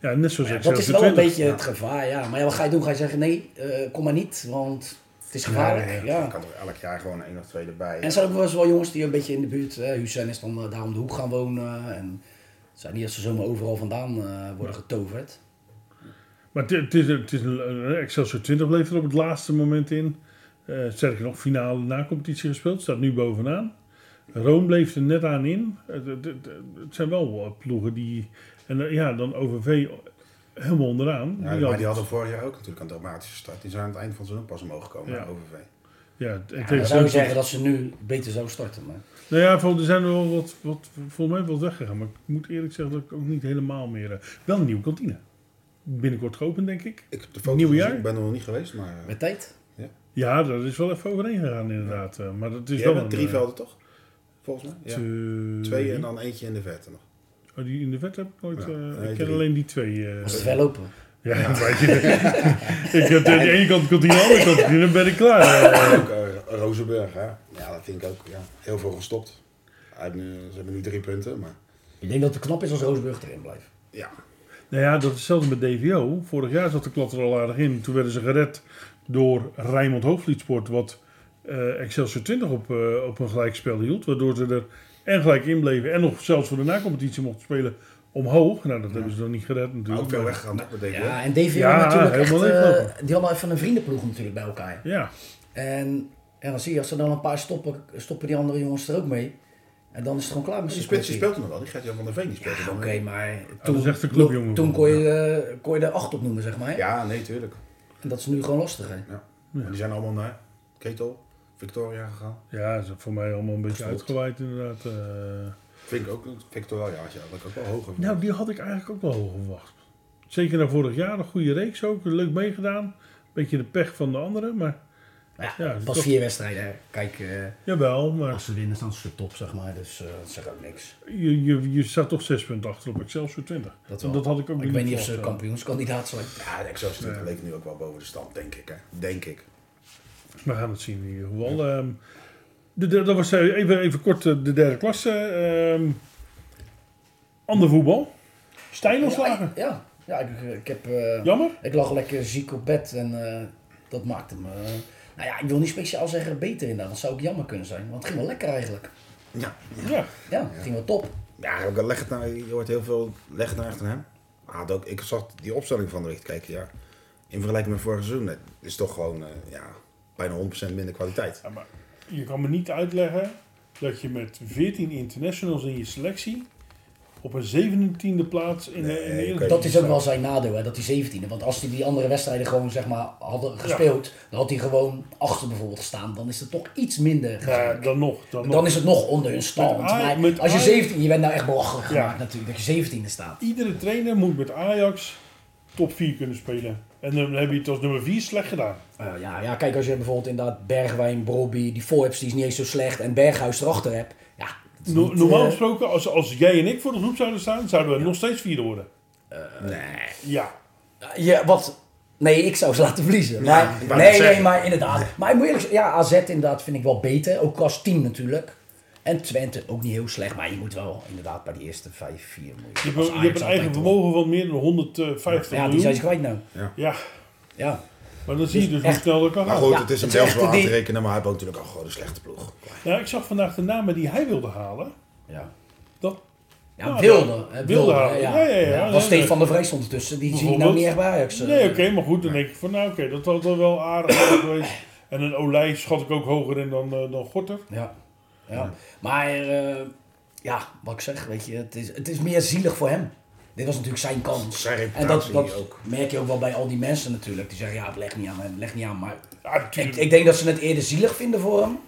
[SPEAKER 2] Ja, net zoals
[SPEAKER 3] Ja,
[SPEAKER 2] ik
[SPEAKER 3] dat
[SPEAKER 2] zelf
[SPEAKER 3] is
[SPEAKER 2] de
[SPEAKER 3] wel een
[SPEAKER 2] 20.
[SPEAKER 3] beetje het gevaar, ja. Maar ja, wat ga je doen? Ga je zeggen, nee, eh, kom maar niet, want het is gevaarlijk.
[SPEAKER 2] Ja, ja,
[SPEAKER 3] ja.
[SPEAKER 4] Er kan toch elk jaar gewoon één of twee erbij.
[SPEAKER 3] En er zijn ook wel eens wel jongens die een beetje in de buurt, hè, Hussein is dan eh, daar om de hoek gaan wonen. En het zijn niet dat ze zomaar overal vandaan eh, worden getoverd.
[SPEAKER 2] Maar het- het is, het is een, een Excelsior 20 bleef er op het laatste moment in. Eh sterker nog, finale na competitie gespeeld. Staat nu bovenaan. Rome bleef er net aan in. Het, het- het- het zijn wel eh, ploegen die... En eh, ja, dan OVV helemaal onderaan.
[SPEAKER 4] Ja,
[SPEAKER 2] Die
[SPEAKER 4] maar
[SPEAKER 2] had-
[SPEAKER 4] die hadden vorig jaar ook natuurlijk een dramatische start. Die zijn aan het eind van het seizoen pas omhoog gekomen
[SPEAKER 2] Ja.
[SPEAKER 4] naar OVV.
[SPEAKER 2] ja, en
[SPEAKER 3] Ja,
[SPEAKER 2] tegen
[SPEAKER 3] dan zou je
[SPEAKER 2] Zandvoort-
[SPEAKER 3] zeggen dat ze nu beter zouden starten. Maar...
[SPEAKER 2] Nou ja, vol- er zijn er wel wat, wat, volgens mij wel weggegaan. Maar ik moet eerlijk zeggen dat ik ook niet helemaal meer... eh, wel een nieuwe kantine. Binnenkort geopend, denk ik.
[SPEAKER 4] Ik heb de foto's
[SPEAKER 2] Nieuw
[SPEAKER 4] gezien,
[SPEAKER 2] jaar?
[SPEAKER 4] Ik ben er nog niet geweest, maar... eh,
[SPEAKER 3] Met tijd?
[SPEAKER 2] Ja, dat is wel even overheen gegaan inderdaad. eh, Maar dat is
[SPEAKER 4] Jij
[SPEAKER 2] wel
[SPEAKER 4] bent
[SPEAKER 2] een,
[SPEAKER 4] drie
[SPEAKER 2] eh,
[SPEAKER 4] velden toch? Volgens mij. Ja. Twee en dan eentje in de verte nog.
[SPEAKER 2] Oh, die in de vet heb ik nooit.
[SPEAKER 4] Ja,
[SPEAKER 2] eh,
[SPEAKER 4] nee,
[SPEAKER 2] ik ken
[SPEAKER 4] drie.
[SPEAKER 2] alleen die twee. eh,
[SPEAKER 3] Als het ver lopen.
[SPEAKER 2] ja, weet je. ik heb aan de ene kant komt die aan de andere kant en dan ben ik klaar. eh.
[SPEAKER 4] ook eh, Rozenburg, hè? Ja, dat vind ik ook. Ja. Heel veel gestopt. Hij heeft nu- ze hebben nu drie punten, maar
[SPEAKER 3] Ik denk dat het knap is als Roosburg erin blijft.
[SPEAKER 4] ja.
[SPEAKER 2] nou ja, dat is hetzelfde met DVO. Vorig jaar zat de klad er al aardig in. Toen werden ze gered door Rijnmond Hoofdliedsport, wat eh, Excelsior 20 op, eh, op een gelijkspel hield. Waardoor ze er En gelijk inbleven. En nog zelfs voor de nacompetitie mochten spelen omhoog. Nou, dat hebben ze dan niet gered natuurlijk.
[SPEAKER 4] Ook wel
[SPEAKER 2] maar-
[SPEAKER 4] weggaan, dat betekent.
[SPEAKER 3] Ja, en DVO
[SPEAKER 2] Ja,
[SPEAKER 3] natuurlijk echt,
[SPEAKER 2] helemaal
[SPEAKER 3] eh,
[SPEAKER 2] leeglopen.
[SPEAKER 3] die hadden even een vriendenploeg natuurlijk bij elkaar.
[SPEAKER 2] Ja,
[SPEAKER 3] En, en dan zie je, als er dan een paar stoppen, stoppen die andere jongens er ook mee. En dan is het gewoon klaar met
[SPEAKER 4] Die
[SPEAKER 3] zo'n
[SPEAKER 4] speelt, die
[SPEAKER 3] clubje.
[SPEAKER 4] speelt er nog wel, die Gert-Jan van der Veen die speelt er
[SPEAKER 3] Ja,
[SPEAKER 4] nog
[SPEAKER 3] Oké,
[SPEAKER 4] wel.
[SPEAKER 3] maar
[SPEAKER 2] dat is echt een clubjongen.
[SPEAKER 3] toen kon je, eh, kon je er acht op noemen, zeg maar.
[SPEAKER 4] Ja, nee, tuurlijk.
[SPEAKER 3] En dat is nu gewoon lastig, hè.
[SPEAKER 4] Ja. Maar Die zijn allemaal naar Ketel, Victoria gegaan.
[SPEAKER 2] ja, dat is voor mij allemaal een beetje
[SPEAKER 4] Klopt.
[SPEAKER 2] uitgewaaid inderdaad. eh.
[SPEAKER 4] Vind ik ook, Victoria ja, dat ik ook wel hoger.
[SPEAKER 2] Nou, die had ik eigenlijk ook wel hoog verwacht. Zeker na vorig jaar, een goede reeks ook. Leuk meegedaan. Beetje de pech van de anderen, maar
[SPEAKER 3] Maar
[SPEAKER 2] Ja,
[SPEAKER 3] ja,
[SPEAKER 2] dat is
[SPEAKER 3] pas
[SPEAKER 2] toch-
[SPEAKER 3] vier wedstrijden, hè. Kijk, eh,
[SPEAKER 2] jawel. Maar
[SPEAKER 3] als ze winnen staan ze top, zeg maar. Dus eh, dat zegt ook niks.
[SPEAKER 2] je, je, je staat toch zes punten achter op Excelsior 20.
[SPEAKER 3] Dat wel.
[SPEAKER 2] had ik ook
[SPEAKER 3] Ik weet niet of ze
[SPEAKER 2] verwacht,
[SPEAKER 3] kampioenskandidaat zijn.
[SPEAKER 4] Ja, de Excelsior ja. leek nu ook wel boven de stand, denk ik. Hè. Denk ik.
[SPEAKER 2] ja. We gaan het zien in ieder geval. Ehm, de, de- dat was eh, even, even kort eh, de derde klasse. Ehm, ander voetbal. Stijn
[SPEAKER 3] Ja,
[SPEAKER 2] ontslagen.
[SPEAKER 3] ja, ja ik, ik heb... eh,
[SPEAKER 2] Jammer.
[SPEAKER 3] Ik lag lekker ziek op bed en eh, dat maakte me. nou ja, ik wil niet speciaal zeggen beter inderdaad. Dat zou ook jammer kunnen zijn. Want het ging wel lekker eigenlijk.
[SPEAKER 4] Ja,
[SPEAKER 2] Ja.
[SPEAKER 3] Ja, het ging wel top.
[SPEAKER 4] ja ook al leg het nou, je hoort heel veel leg het nou echt aan hem. Maar had ook, ik zat die opstelling van de richt kijken, ja. In vergelijking met vorig seizoen, het is toch gewoon eh, ja, bijna 100% minder kwaliteit.
[SPEAKER 2] Ja, maar je kan me niet uitleggen dat je met 14 internationals in je selectie op een 17e plaats in de, in de
[SPEAKER 4] Nee,
[SPEAKER 2] Eredivisie
[SPEAKER 4] oké.
[SPEAKER 3] Dat is ook
[SPEAKER 2] staat.
[SPEAKER 3] wel zijn nadeel, hè, dat hij 17e. Want als hij die andere wedstrijden gewoon zeg maar, hadden gespeeld, dan had hij gewoon achter bijvoorbeeld gestaan. Dan is het toch iets minder.
[SPEAKER 2] Ja, dan nog. Dan, nog.
[SPEAKER 3] dan is het nog onder hun stand.
[SPEAKER 2] Met Ajax-
[SPEAKER 3] Maar
[SPEAKER 2] met
[SPEAKER 3] als je
[SPEAKER 2] Ajax-
[SPEAKER 3] 17, je bent nou echt belachelijk
[SPEAKER 2] Ja.
[SPEAKER 3] gemaakt natuurlijk, dat je 17e staat.
[SPEAKER 2] Iedere trainer moet met Ajax top 4 kunnen spelen. En dan heb je het als nummer 4 slecht gedaan.
[SPEAKER 3] Eh, ja, ja, kijk, als je bijvoorbeeld inderdaad Bergwijn, Brobby, die voorhebs die is niet eens zo slecht en Berghuis erachter hebt. Ja, dat is
[SPEAKER 2] No-
[SPEAKER 3] niet,
[SPEAKER 2] normaal
[SPEAKER 3] eh,
[SPEAKER 2] gesproken, als, als jij en ik voor de groep zouden staan, zouden we nog steeds vierde worden.
[SPEAKER 3] Eh,
[SPEAKER 4] nee.
[SPEAKER 2] Ja.
[SPEAKER 3] Ja, wat? Nee, ik zou ze laten verliezen. Maar,
[SPEAKER 4] ik wou
[SPEAKER 3] nee,
[SPEAKER 4] net
[SPEAKER 3] nee,
[SPEAKER 4] zeggen.
[SPEAKER 3] maar inderdaad. Maar ik moet eerlijk zeggen, ja, AZ inderdaad vind ik wel beter. Ook als team natuurlijk. En Twente ook niet heel slecht. Maar je moet wel inderdaad bij die eerste vijf, vier miljoen.
[SPEAKER 2] Je hebt, een- je hebt een eigen vermogen van meer dan 150
[SPEAKER 3] Ja, die
[SPEAKER 2] miljoen.
[SPEAKER 3] zijn ze kwijt nou.
[SPEAKER 2] Ja,
[SPEAKER 3] Ja.
[SPEAKER 2] maar dan zie je dus hoe
[SPEAKER 3] echt-
[SPEAKER 2] snel dat kan
[SPEAKER 4] Maar
[SPEAKER 2] gaan.
[SPEAKER 4] goed,
[SPEAKER 3] Ja,
[SPEAKER 4] het is hem
[SPEAKER 3] het is
[SPEAKER 4] zelfs wel
[SPEAKER 3] echt
[SPEAKER 4] aan te
[SPEAKER 3] die-
[SPEAKER 4] rekenen, maar hij heeft ook natuurlijk ook gewoon een slechte ploeg.
[SPEAKER 2] Nou, ik zag vandaag de namen die hij wilde halen.
[SPEAKER 3] Ja.
[SPEAKER 2] Dat
[SPEAKER 3] Ja,
[SPEAKER 2] Nou,
[SPEAKER 3] wilde.
[SPEAKER 2] wilde
[SPEAKER 3] hè, wilde, hè,
[SPEAKER 2] houden.
[SPEAKER 3] ja.
[SPEAKER 2] Ja, ja, ja.
[SPEAKER 3] Ja,
[SPEAKER 2] Nee,
[SPEAKER 3] Want Stefan
[SPEAKER 2] nee.
[SPEAKER 3] van der Vrij stond ertussen. Die zie ik nou
[SPEAKER 2] Bijvoorbeeld.
[SPEAKER 3] niet echt bij Ajax. eh.
[SPEAKER 2] Nee, oké, maar goed, dan denk ik van nou oké, dat had wel wel aardig geweest. En een Olij schat ik ook hoger in dan, eh, dan Gorter.
[SPEAKER 3] Ja. ja. Maar eh, ja, wat ik zeg, weet je, het is, het is meer zielig voor hem. Dit was natuurlijk zijn kans.
[SPEAKER 4] Zijn
[SPEAKER 3] en
[SPEAKER 4] reputatie
[SPEAKER 3] dat, dat
[SPEAKER 4] ook.
[SPEAKER 3] merk je ook wel bij al die mensen natuurlijk. Die zeggen, ja, het legt niet aan, het legt niet aan. Maar
[SPEAKER 2] Ja,
[SPEAKER 3] ik,
[SPEAKER 2] natuurlijk.
[SPEAKER 3] ik denk dat ze het eerder zielig vinden voor hem.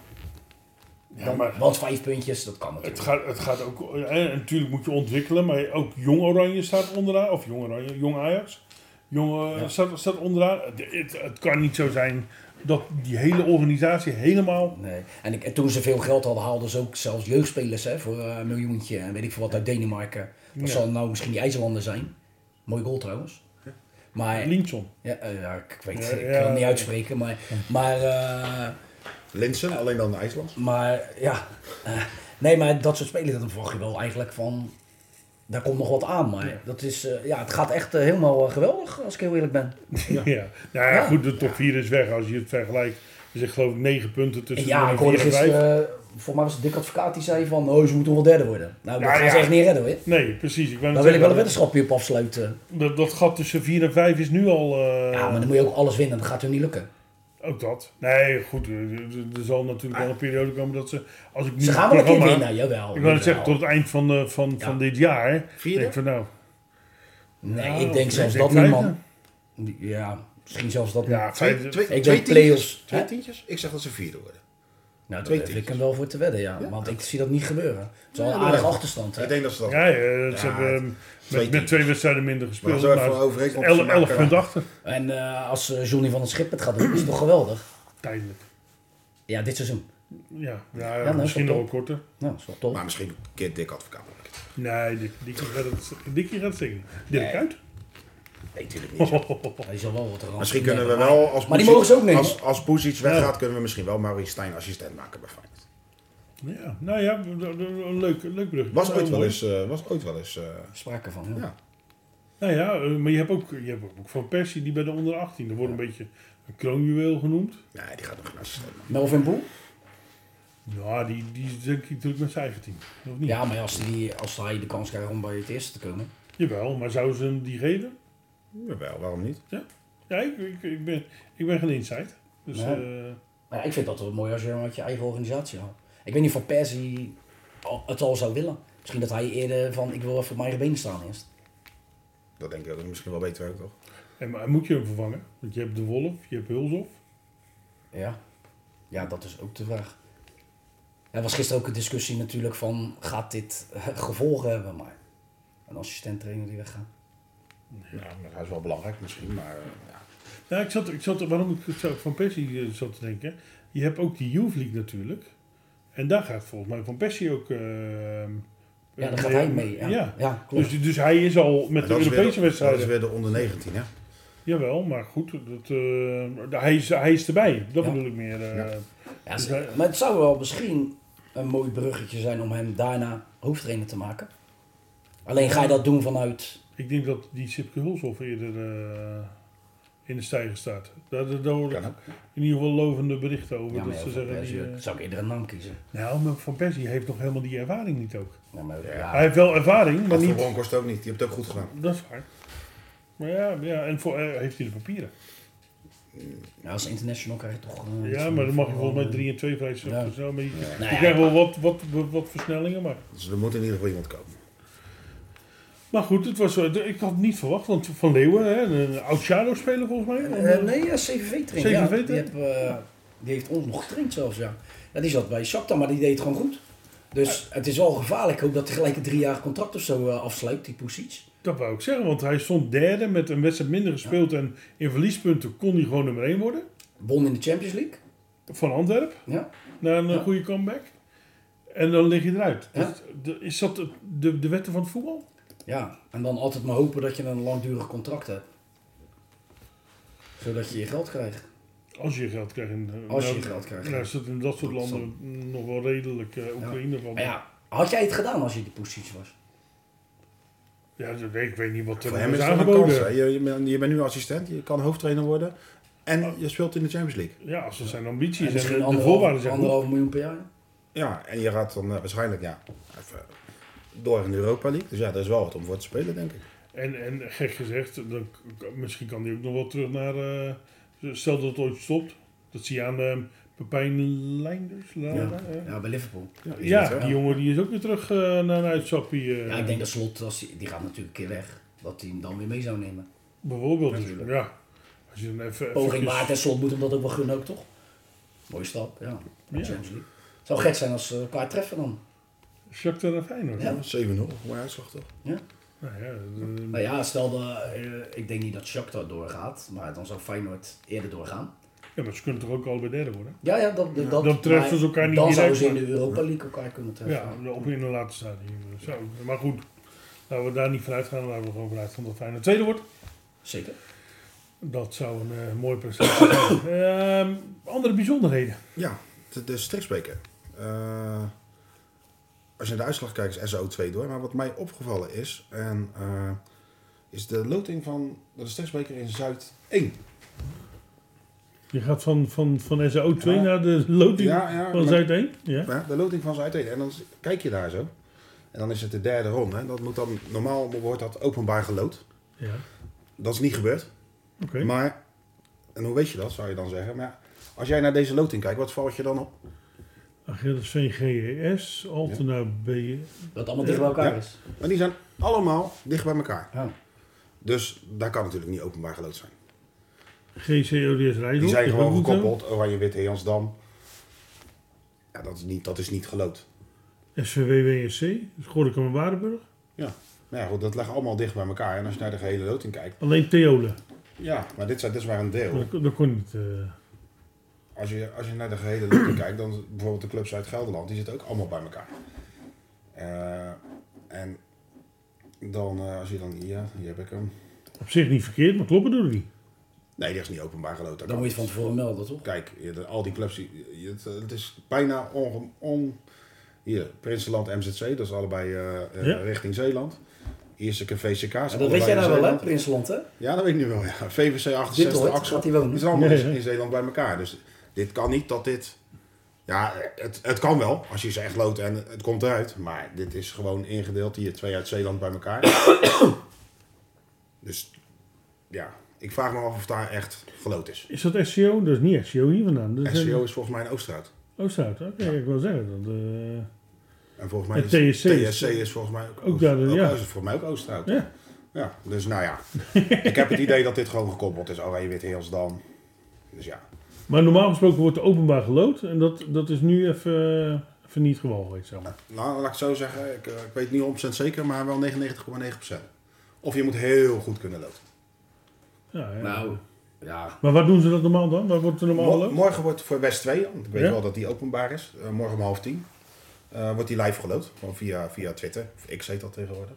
[SPEAKER 2] ja, maar
[SPEAKER 3] Want vijf puntjes, dat kan natuurlijk.
[SPEAKER 2] het gaat, het gaat ook, eh, en natuurlijk moet je ontwikkelen, maar ook Jong Oranje staat onderaan, of Jong Oranje, Jong Ajax. Jong eh, staat, staat onderaan. Het, het, het kan niet zo zijn dat die hele organisatie helemaal...
[SPEAKER 3] Nee. En, ik, en toen ze veel geld hadden, haalden ze ook zelfs jeugdspelers hè, voor eh, een miljoentje. En weet ik veel wat uit Denemarken. Dat
[SPEAKER 2] Ja.
[SPEAKER 3] zal nou misschien die IJslander zijn. Mooi goal trouwens. Maar,
[SPEAKER 2] Linksom.
[SPEAKER 3] ja, eh, ja, ik weet
[SPEAKER 2] Ja,
[SPEAKER 3] ik
[SPEAKER 2] ja.
[SPEAKER 3] kan het niet uitspreken, maar, maar eh,
[SPEAKER 4] Linsen, alleen dan de IJsland.
[SPEAKER 3] Maar ja, eh, nee, maar dat soort spelers, dat verwacht je wel eigenlijk van. Daar komt nog wat aan, maar dat is, eh, ja, het gaat echt eh, helemaal eh, geweldig, als ik heel eerlijk ben.
[SPEAKER 2] Ja. Nou ja,
[SPEAKER 3] Ja.
[SPEAKER 2] goed, de top 4 is weg als je het vergelijkt. Er zit geloof ik 9 punten
[SPEAKER 3] En
[SPEAKER 2] tussen
[SPEAKER 3] ja,
[SPEAKER 2] nummer
[SPEAKER 3] ik hoorde
[SPEAKER 2] vier en vijf.
[SPEAKER 3] gisteren, eh, volgens mij was het Dick Advocaat die zei van, oh, ze moeten wel derde worden. Nou, dat
[SPEAKER 2] Ja,
[SPEAKER 3] gaan
[SPEAKER 2] ja.
[SPEAKER 3] ze echt niet redden hoor.
[SPEAKER 2] Nee, precies. Ik wou net
[SPEAKER 3] Daar wil ik wel
[SPEAKER 2] zeggen,
[SPEAKER 3] een weddenschapje op afsluiten.
[SPEAKER 2] dat, dat gat tussen 4 en 5 is nu al... eh,
[SPEAKER 3] Ja, maar dan moet je ook alles winnen, dat gaat hun niet lukken.
[SPEAKER 2] Ook dat. Nee, goed. Er er- er zal natuurlijk wel een periode komen dat ze. Als ik nu
[SPEAKER 3] Ze gaan
[SPEAKER 2] het
[SPEAKER 3] wel een keer
[SPEAKER 2] programma-
[SPEAKER 3] winnen, jawel.
[SPEAKER 2] Ik wil het
[SPEAKER 3] jawel.
[SPEAKER 2] zeggen, tot het eind van, eh, van,
[SPEAKER 3] Ja.
[SPEAKER 2] van dit jaar.
[SPEAKER 4] Vierde?
[SPEAKER 2] Denk van nou. oh,
[SPEAKER 3] Nee,
[SPEAKER 2] ja,
[SPEAKER 3] ik denk
[SPEAKER 2] of
[SPEAKER 3] zelfs
[SPEAKER 2] denk
[SPEAKER 3] dat niet,
[SPEAKER 2] vijfde.
[SPEAKER 3] man. Ja, misschien zelfs dat
[SPEAKER 2] Ja,
[SPEAKER 3] niet.
[SPEAKER 2] vijfde.
[SPEAKER 3] Ik denk play-offs.
[SPEAKER 4] Twee
[SPEAKER 3] Hè?
[SPEAKER 4] tientjes? Ik zeg dat ze vierde worden.
[SPEAKER 3] Nou, dat
[SPEAKER 4] Twee
[SPEAKER 3] durf ik
[SPEAKER 4] tientjes.
[SPEAKER 3] hem wel voor te wedden, ja. Want ik zie dat niet gebeuren. Het is wel een
[SPEAKER 4] Ja,
[SPEAKER 3] aardige
[SPEAKER 4] maar-
[SPEAKER 3] achterstand, hè.
[SPEAKER 4] Ik denk dat ze dat...
[SPEAKER 2] Ja, ja, ze
[SPEAKER 4] Ja,
[SPEAKER 2] hebben eh,
[SPEAKER 4] twee
[SPEAKER 2] met, met twee wedstrijden minder
[SPEAKER 4] maar
[SPEAKER 2] gespeeld.
[SPEAKER 4] als we even
[SPEAKER 2] maar
[SPEAKER 4] overeenkomst
[SPEAKER 2] elf-
[SPEAKER 4] maken,
[SPEAKER 2] elf
[SPEAKER 4] dan-
[SPEAKER 2] punten achter.
[SPEAKER 3] En eh, als eh, Johnny van het Schip het gaat doen, is het toch geweldig?
[SPEAKER 2] Tijdelijk.
[SPEAKER 3] Ja, dit seizoen.
[SPEAKER 2] Ja, ja,
[SPEAKER 3] nou,
[SPEAKER 2] misschien
[SPEAKER 3] is
[SPEAKER 2] nog
[SPEAKER 3] dat
[SPEAKER 2] wel korter.
[SPEAKER 3] Nou, dat is wel top.
[SPEAKER 4] Maar misschien een keer dik advocaat.
[SPEAKER 2] Nee, Dick- Dikkie gaat het, Dikkie gaat het zingen. Dirk uit.
[SPEAKER 4] Nee, natuurlijk niet.
[SPEAKER 3] Hij is al wel wat eraan.
[SPEAKER 4] Misschien kunnen we wel, als
[SPEAKER 3] Maar die
[SPEAKER 4] Poesic-
[SPEAKER 3] mogen ze ook nemen.
[SPEAKER 4] Als, als Poesic weggaat, kunnen we misschien wel Maurice Stijn assistent maken bij Feyenoord.
[SPEAKER 2] Ja, nou ja, d- d- een leuk, leuk brug.
[SPEAKER 4] Was ooit wel eens... eh, was ooit wel eens eh,
[SPEAKER 3] Sprake van, ja.
[SPEAKER 4] ja.
[SPEAKER 2] Nou ja, eh, maar je hebt ook, je hebt ook Van Persie, die bij de onder 18. Dat wordt een beetje een kroonjuweel genoemd.
[SPEAKER 4] Nee, die gaat nog geen assistent maken.
[SPEAKER 3] Melvin Boel?
[SPEAKER 2] Ja, die, die is denk ik druk met zijn eigen team. Of niet?
[SPEAKER 3] Ja, maar als, die, als hij de kans krijgt om bij het eerste te komen.
[SPEAKER 2] Jawel, maar zouden ze hem die geven?
[SPEAKER 4] Jawel, waarom niet?
[SPEAKER 2] Ja, ik, ik, ik, ben, ik ben geen insight. Dus
[SPEAKER 3] Nee.
[SPEAKER 2] eh,
[SPEAKER 3] Maar ja, ik vind dat wel mooi als je hem uit je eigen organisatie haalt. Ik weet niet of Van Persie al- het al zou willen. Misschien dat hij eerder van ik wil even op mijn eigen benen staan eerst.
[SPEAKER 4] Dat denk ik dat is misschien wel beter ook, toch?
[SPEAKER 2] en, maar moet je hem vervangen? Want je hebt de Wolf, je hebt Hulshof.
[SPEAKER 3] Ja. ja, dat is ook de vraag. Er was gisteren ook een discussie natuurlijk van gaat dit eh, gevolgen hebben, maar een assistent trainer die weggaat.
[SPEAKER 4] Ja, maar dat is wel belangrijk misschien, maar eh, ja.
[SPEAKER 2] Nou, ik zat, ik zat, waarom ik het zo van Persie eh, zat te denken. Je hebt ook die Youth League natuurlijk. En daar gaat volgens mij van Persie ook. eh,
[SPEAKER 3] Ja, dan
[SPEAKER 2] eh,
[SPEAKER 3] gaat hij mee. Ja, ja.
[SPEAKER 2] Ja.
[SPEAKER 3] klopt.
[SPEAKER 2] Dus, dus hij is al met
[SPEAKER 4] Maar
[SPEAKER 2] de
[SPEAKER 4] dat is weer
[SPEAKER 2] Europese
[SPEAKER 4] de- Dat is
[SPEAKER 2] wedstrijden.
[SPEAKER 4] weer de onder 19, hè?
[SPEAKER 2] Jawel, maar goed, dat, eh, hij, is, hij is erbij. Dat
[SPEAKER 3] Ja.
[SPEAKER 2] bedoel ik meer. eh,
[SPEAKER 4] Ja.
[SPEAKER 3] Ja, ze- maar het zou wel misschien een mooi bruggetje zijn om hem daarna hoofdtrainer te maken. Alleen ga je dat doen vanuit.
[SPEAKER 2] Ik denk dat die Sipke Hulshoff eerder eh, in de stijger staat. Daar, daar, daar hoor ik
[SPEAKER 4] Kan ook.
[SPEAKER 2] in ieder geval lovende berichten over.
[SPEAKER 3] Ja, maar
[SPEAKER 2] dat ze
[SPEAKER 3] heel
[SPEAKER 2] zeggen,
[SPEAKER 3] veel
[SPEAKER 2] die,
[SPEAKER 3] mensen-
[SPEAKER 2] eh,
[SPEAKER 3] zou ik eerder een naam kiezen.
[SPEAKER 2] nou, maar Van Persie heeft nog helemaal die ervaring niet ook.
[SPEAKER 3] Ja, maar, ja.
[SPEAKER 2] Hij heeft wel ervaring, maar
[SPEAKER 4] Maar
[SPEAKER 2] niet...
[SPEAKER 4] voor Bronkhorst ook niet, die hebt het ook goed gedaan.
[SPEAKER 2] Dat is waar. Maar ja, ja en voor, eh, heeft hij de papieren?
[SPEAKER 3] Ja, als international krijg je toch. eh,
[SPEAKER 2] ja, maar dan mag je volgens mij 3 en 2 vrij snel.
[SPEAKER 3] Ja.
[SPEAKER 2] dus nou, maar je, je
[SPEAKER 3] Nou ja,
[SPEAKER 2] krijgt wel wat, wat, wat, wat versnellingen, maar...
[SPEAKER 4] Dus er moet in ieder geval iemand komen.
[SPEAKER 2] Maar goed, het was, eh, ik had het niet verwacht, want Van Leeuwen, hè, een, een oud shadow speler volgens mij.
[SPEAKER 3] Eh, nee, ja, CVV-trainer. Ja,
[SPEAKER 2] CVV
[SPEAKER 3] die, heb, eh, die heeft ons nog getraind zelfs, ja. ja. Die zat bij Shakhtar, maar die deed het gewoon goed. Dus het is wel gevaarlijk. Ik hoop dat hij gelijk een drie jaar contract of zo eh, afsluit, die Pusic.
[SPEAKER 2] Dat wou ik zeggen, want hij stond derde met een wedstrijd minder gespeeld en in verliespunten kon hij gewoon nummer 1 worden.
[SPEAKER 3] Won in de Champions League.
[SPEAKER 2] Van Antwerp,
[SPEAKER 3] Ja.
[SPEAKER 2] na een eh,
[SPEAKER 3] Ja.
[SPEAKER 2] goede comeback. En dan lig je eruit.
[SPEAKER 3] Ja.
[SPEAKER 2] Dus, de- is dat de, de, de wetten van het voetbal?
[SPEAKER 3] ja, en dan altijd maar hopen dat je een langdurig contract hebt. Zodat je je geld krijgt.
[SPEAKER 2] Als je geld krijgt. In, eh,
[SPEAKER 3] Als je
[SPEAKER 2] nou,
[SPEAKER 3] geld krijgt,
[SPEAKER 2] Nou,
[SPEAKER 3] ja.
[SPEAKER 2] is dat in dat soort
[SPEAKER 3] Dat
[SPEAKER 2] landen nog wel redelijk eh, Oekraïne van.
[SPEAKER 3] Maar ja, had jij het gedaan als je die Pusic was?
[SPEAKER 2] Ja, dat weet ik weet niet wat
[SPEAKER 4] Voor
[SPEAKER 2] er
[SPEAKER 4] hem is
[SPEAKER 2] is
[SPEAKER 4] het wel een kans. hè.
[SPEAKER 2] aangeboden.
[SPEAKER 4] Je, je, bent- je bent nu assistent, je kan hoofdtrainer worden en je speelt in de Champions League.
[SPEAKER 2] Ja, als dat zijn
[SPEAKER 3] En
[SPEAKER 2] ambities en,
[SPEAKER 3] misschien
[SPEAKER 2] de, de
[SPEAKER 3] anderhalf,
[SPEAKER 2] voorwaarden zijn goed.
[SPEAKER 3] anderhalf miljoen per jaar?
[SPEAKER 4] Ja, en je gaat dan eh, waarschijnlijk ja, even door in de Europa League. Dus ja, daar is wel wat om voor te spelen, denk ik.
[SPEAKER 2] En, en gek gezegd, dan, k- k- misschien kan hij ook nog wel terug naar... eh, stel dat het ooit stopt. Dat zie je aan eh, Pepijn Leinders. La-
[SPEAKER 3] Ja,
[SPEAKER 2] eh.
[SPEAKER 3] ja bij Liverpool.
[SPEAKER 4] Is
[SPEAKER 2] Ja,
[SPEAKER 4] het, hè?
[SPEAKER 2] die jongen die is ook weer terug eh, naar een uitstapje. eh,
[SPEAKER 3] Ja, ik denk dat Slot, als die, die gaat natuurlijk een keer weg. Dat hij hem dan weer mee zou nemen.
[SPEAKER 2] Bijvoorbeeld.
[SPEAKER 3] Natuurlijk.
[SPEAKER 2] Ja. Als je dan even...
[SPEAKER 3] Poging
[SPEAKER 2] eventjes-
[SPEAKER 3] waard en Slot moet hem dat ook wel gunnen ook, toch? Mooie stap, ja. Champions League. Zou gek zijn als ze elkaar treffen dan.
[SPEAKER 2] Shakhtar en Feyenoord.
[SPEAKER 3] Ja.
[SPEAKER 4] 7-0, maar uitslag toch?
[SPEAKER 3] Ja?
[SPEAKER 2] Nou ja, eh,
[SPEAKER 3] Nou ja, stel dat, eh, ik denk niet dat Shakhtar doorgaat, maar dan zou Feyenoord eerder doorgaan.
[SPEAKER 2] ja, maar ze kunnen toch ook allebei derde worden?
[SPEAKER 3] Ja, ja, dat, dat,
[SPEAKER 2] Dan treffen
[SPEAKER 3] maar
[SPEAKER 2] ze elkaar niet
[SPEAKER 3] Dan
[SPEAKER 2] direct,
[SPEAKER 3] zouden ze in de Europa League elkaar kunnen treffen.
[SPEAKER 2] Ja, op in een later stadium. eh, Zo. Maar goed, laten we daar niet vanuit gaan. Laten we gewoon vanuit gaan dat Feyenoord tweede wordt.
[SPEAKER 3] Zeker.
[SPEAKER 2] Dat zou een eh, mooie prestatie zijn. Ehm, andere bijzonderheden.
[SPEAKER 4] Ja, de, de stripsbeker. Eh, als je naar de uitslag kijkt is SO2 door. Maar wat mij opgevallen is, en, eh, is de loting van de stripsbeker in Zuid 1.
[SPEAKER 2] Je gaat van, van, van SAO2
[SPEAKER 4] Ja.
[SPEAKER 2] naar de loting
[SPEAKER 4] Ja, ja,
[SPEAKER 2] van
[SPEAKER 4] maar-
[SPEAKER 2] Zuid 1. Ja.
[SPEAKER 4] Ja, de loting van Zuid 1. En dan kijk je daar zo. En dan is het de derde ronde. hè. Dat moet dan, normaal wordt dat openbaar geloot.
[SPEAKER 2] ja.
[SPEAKER 4] Dat is niet gebeurd.
[SPEAKER 2] Oké.
[SPEAKER 4] Maar, en hoe weet je dat, zou je dan zeggen. Maar ja, als jij naar deze loting kijkt, wat valt je dan op?
[SPEAKER 2] Achilles VGES, Altena B.
[SPEAKER 3] Dat allemaal dicht bij elkaar
[SPEAKER 4] Ja.
[SPEAKER 3] is.
[SPEAKER 4] Maar die zijn allemaal dicht bij elkaar.
[SPEAKER 3] Ja.
[SPEAKER 4] Dus daar kan natuurlijk niet openbaar geloot zijn.
[SPEAKER 2] GCODS Rijssel.
[SPEAKER 4] Die zijn gewoon
[SPEAKER 2] Rotterdam.
[SPEAKER 4] gekoppeld. Oranje, Wit, Jansdam. Ja, dat is niet, dat is niet geloot.
[SPEAKER 2] SVW WSC, Schorkum dus en Waardenburg.
[SPEAKER 4] Ja. Nou ja, goed, dat ligt allemaal dicht bij elkaar. En als je naar de gehele loting kijkt.
[SPEAKER 2] Alleen Theolen.
[SPEAKER 4] Ja, maar dit, zijn, dit is maar een deel.
[SPEAKER 2] Dat, dat kon niet. eh.
[SPEAKER 4] Als je, als je naar de gehele loting kijkt, dan bijvoorbeeld de clubs uit Gelderland, die zitten ook allemaal bij elkaar. Eh, en dan, eh, als je dan hier, hier heb ik hem.
[SPEAKER 2] op zich niet verkeerd, maar kloppen doet het niet.
[SPEAKER 4] Nee, die is niet openbaar geloot. Dat
[SPEAKER 3] Dan
[SPEAKER 4] kan
[SPEAKER 3] moet je het
[SPEAKER 4] niet.
[SPEAKER 3] van tevoren melden, toch?
[SPEAKER 4] Kijk, je- de- al die clubs, die- je- het, eh, het is bijna on... on hier, Prinsenland, MZC, dat is allebei eh, eh,
[SPEAKER 2] Ja.
[SPEAKER 4] richting Zeeland. Eerste keer VCK.
[SPEAKER 3] Ja, dat weet jij nou wel, hè,
[SPEAKER 4] hè?
[SPEAKER 3] Prinsland, hè?
[SPEAKER 4] Ja, dat weet ik nu wel. Ja. VVC
[SPEAKER 3] Dit
[SPEAKER 4] 68,
[SPEAKER 3] hoort,
[SPEAKER 4] Axel.
[SPEAKER 3] gaat hij wonen.
[SPEAKER 4] Die zijn allemaal
[SPEAKER 2] Ja,
[SPEAKER 4] in-
[SPEAKER 2] ja.
[SPEAKER 4] in Zeeland bij elkaar. Dus dit kan niet dat dit Ja, het, het kan wel als je ze echt loodt en het komt eruit. Maar dit is gewoon ingedeeld hier, twee uit Zeeland bij elkaar. dus ja, ik vraag me af of daar echt gelood is.
[SPEAKER 2] Is dat SEO? Dat is niet SEO hier vandaan.
[SPEAKER 3] Dus,
[SPEAKER 2] Dat
[SPEAKER 3] eh,
[SPEAKER 2] is
[SPEAKER 4] SCO is volgens mij een Oostraat.
[SPEAKER 2] Oosterhout. Oké, ik wil zeggen. Dat, eh,
[SPEAKER 4] En volgens mij
[SPEAKER 2] En
[SPEAKER 4] is
[SPEAKER 2] TSC is-
[SPEAKER 4] TSC is volgens mij ook,
[SPEAKER 2] Ook daar,
[SPEAKER 4] Oost-
[SPEAKER 2] ja.
[SPEAKER 4] is het volgens mij ook Oosterhout.
[SPEAKER 2] ja.
[SPEAKER 4] Ja, dus nou ja. ik heb het idee dat dit gewoon gekoppeld is. Oh, Oranje, Wit, Heelsdam. Dus ja.
[SPEAKER 2] Maar normaal gesproken wordt er openbaar gelood. En dat, dat is nu even, eh, even niet het geval geweest. Zeg maar.
[SPEAKER 4] Nou, laat ik het zo zeggen. Ik, eh, ik weet niet 100% zeker, maar wel 99,9%. Of je moet heel goed kunnen lopen.
[SPEAKER 2] ja, ja.
[SPEAKER 3] Nou, ja.
[SPEAKER 2] Maar waar doen ze dat normaal dan? Waar wordt er normaal
[SPEAKER 4] Mo-
[SPEAKER 2] gelood?
[SPEAKER 4] morgen wordt voor West 2, want ik weet
[SPEAKER 2] Ja?
[SPEAKER 4] wel dat die openbaar is. eh, morgen om half tien. eh, wordt die live gelood. Gewoon via, via Twitter. Of X heet dat tegenwoordig.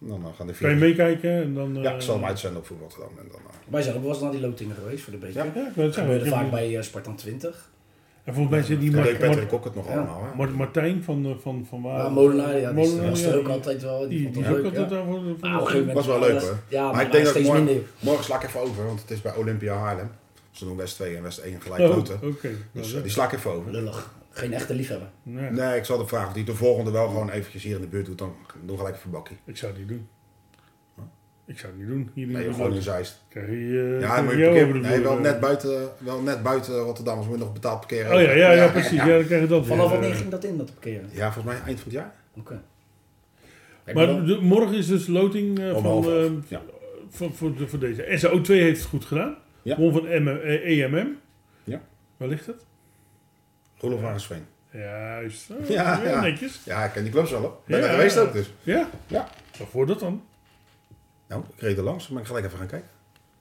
[SPEAKER 4] En dan eh, gaan de
[SPEAKER 2] Kan je
[SPEAKER 4] vier...
[SPEAKER 2] meekijken? En dan, eh,
[SPEAKER 4] Ja, ik zal hem uitzenden op voetbalgedaan. En dan... eh,
[SPEAKER 3] Wij zijn ook wel eens naar die lootingen geweest voor de beker.
[SPEAKER 4] Ja.
[SPEAKER 2] Ja, ik wil het
[SPEAKER 3] Dat gebeurde
[SPEAKER 2] zeggen.
[SPEAKER 3] vaak bij eh, Spartan 20.
[SPEAKER 2] En volgens mij zit die
[SPEAKER 4] dan
[SPEAKER 2] Mar-
[SPEAKER 4] deed Patrick
[SPEAKER 2] Mar-
[SPEAKER 4] ook het nog
[SPEAKER 3] Ja.
[SPEAKER 4] allemaal. Hè?
[SPEAKER 2] Mar- Martijn van, eh, van, van waar?
[SPEAKER 3] Ja, Molenaar, ja, die
[SPEAKER 2] Molenaar,
[SPEAKER 3] was
[SPEAKER 2] ja,
[SPEAKER 3] er ook
[SPEAKER 2] die-
[SPEAKER 3] altijd wel. Die,
[SPEAKER 2] Die,
[SPEAKER 3] vond
[SPEAKER 2] die
[SPEAKER 3] het
[SPEAKER 2] is ook
[SPEAKER 3] leuk, ja.
[SPEAKER 2] altijd eh, daar voor de- voor
[SPEAKER 3] Nou, op een
[SPEAKER 2] de-
[SPEAKER 3] gegeven
[SPEAKER 4] Dat is wel
[SPEAKER 3] moment-
[SPEAKER 4] leuk hoor.
[SPEAKER 3] Ja, maar,
[SPEAKER 4] maar ik denk dat ik
[SPEAKER 3] steeds
[SPEAKER 4] morgen,
[SPEAKER 3] minder.
[SPEAKER 4] morgen sla ik even over, want het is bij Olympia Haarlem. Ze doen West 2 en West 1 gelijk
[SPEAKER 2] Oh,
[SPEAKER 4] loten.
[SPEAKER 2] Oké.
[SPEAKER 4] Dus
[SPEAKER 2] Nou,
[SPEAKER 4] eh, die sla ik even over.
[SPEAKER 3] Lullig. Geen echte liefhebber.
[SPEAKER 2] nee,
[SPEAKER 4] Nee, ik zal de vraag of die de volgende wel gewoon eventjes hier in de buurt doet, dan doe gelijk even bakkie.
[SPEAKER 2] Ik zou het niet doen. Ik zou het niet doen. Hier
[SPEAKER 4] Nee,
[SPEAKER 2] niet
[SPEAKER 4] gewoon in Zeist.
[SPEAKER 2] Krijg je, eh,
[SPEAKER 4] Ja,
[SPEAKER 2] krijg
[SPEAKER 4] dan moet je
[SPEAKER 2] jou over
[SPEAKER 4] parkeren.
[SPEAKER 2] de
[SPEAKER 4] Nee,
[SPEAKER 2] vloer,
[SPEAKER 4] wel
[SPEAKER 2] eh.
[SPEAKER 4] net buiten, wel net buiten Rotterdam, dus moet je nog betaald parkeren.
[SPEAKER 2] Oh ja, ja, ja, precies. Ja, dan krijg je dat
[SPEAKER 3] Vanaf
[SPEAKER 2] weer,
[SPEAKER 3] wanneer
[SPEAKER 2] eh.
[SPEAKER 3] ging dat in, dat parkeren?
[SPEAKER 4] Ja, volgens mij eind van het jaar.
[SPEAKER 3] Oké. Ik bedoel-
[SPEAKER 2] Maar de- morgen is dus loting eh,
[SPEAKER 4] Om
[SPEAKER 2] van,
[SPEAKER 4] half elf.
[SPEAKER 2] eh,
[SPEAKER 4] Ja.
[SPEAKER 2] voor, voor, de- voor deze. SO2 heeft het goed gedaan.
[SPEAKER 4] Ja.
[SPEAKER 2] Won van M- eh, EMM.
[SPEAKER 4] Ja.
[SPEAKER 2] Waar ligt het?
[SPEAKER 4] Roelof Arendsveen.
[SPEAKER 2] Juist. Oh,
[SPEAKER 4] Ja,
[SPEAKER 2] ja,
[SPEAKER 4] ja.
[SPEAKER 2] netjes.
[SPEAKER 4] Ja, ik ken die clubs wel hoor. Ben
[SPEAKER 2] Ja.
[SPEAKER 4] daar geweest ook dus.
[SPEAKER 2] Ja.
[SPEAKER 4] Ja.
[SPEAKER 2] Waarvoor dat dan?
[SPEAKER 4] Nou, ik reed er langs, maar ik gelijk even gaan kijken.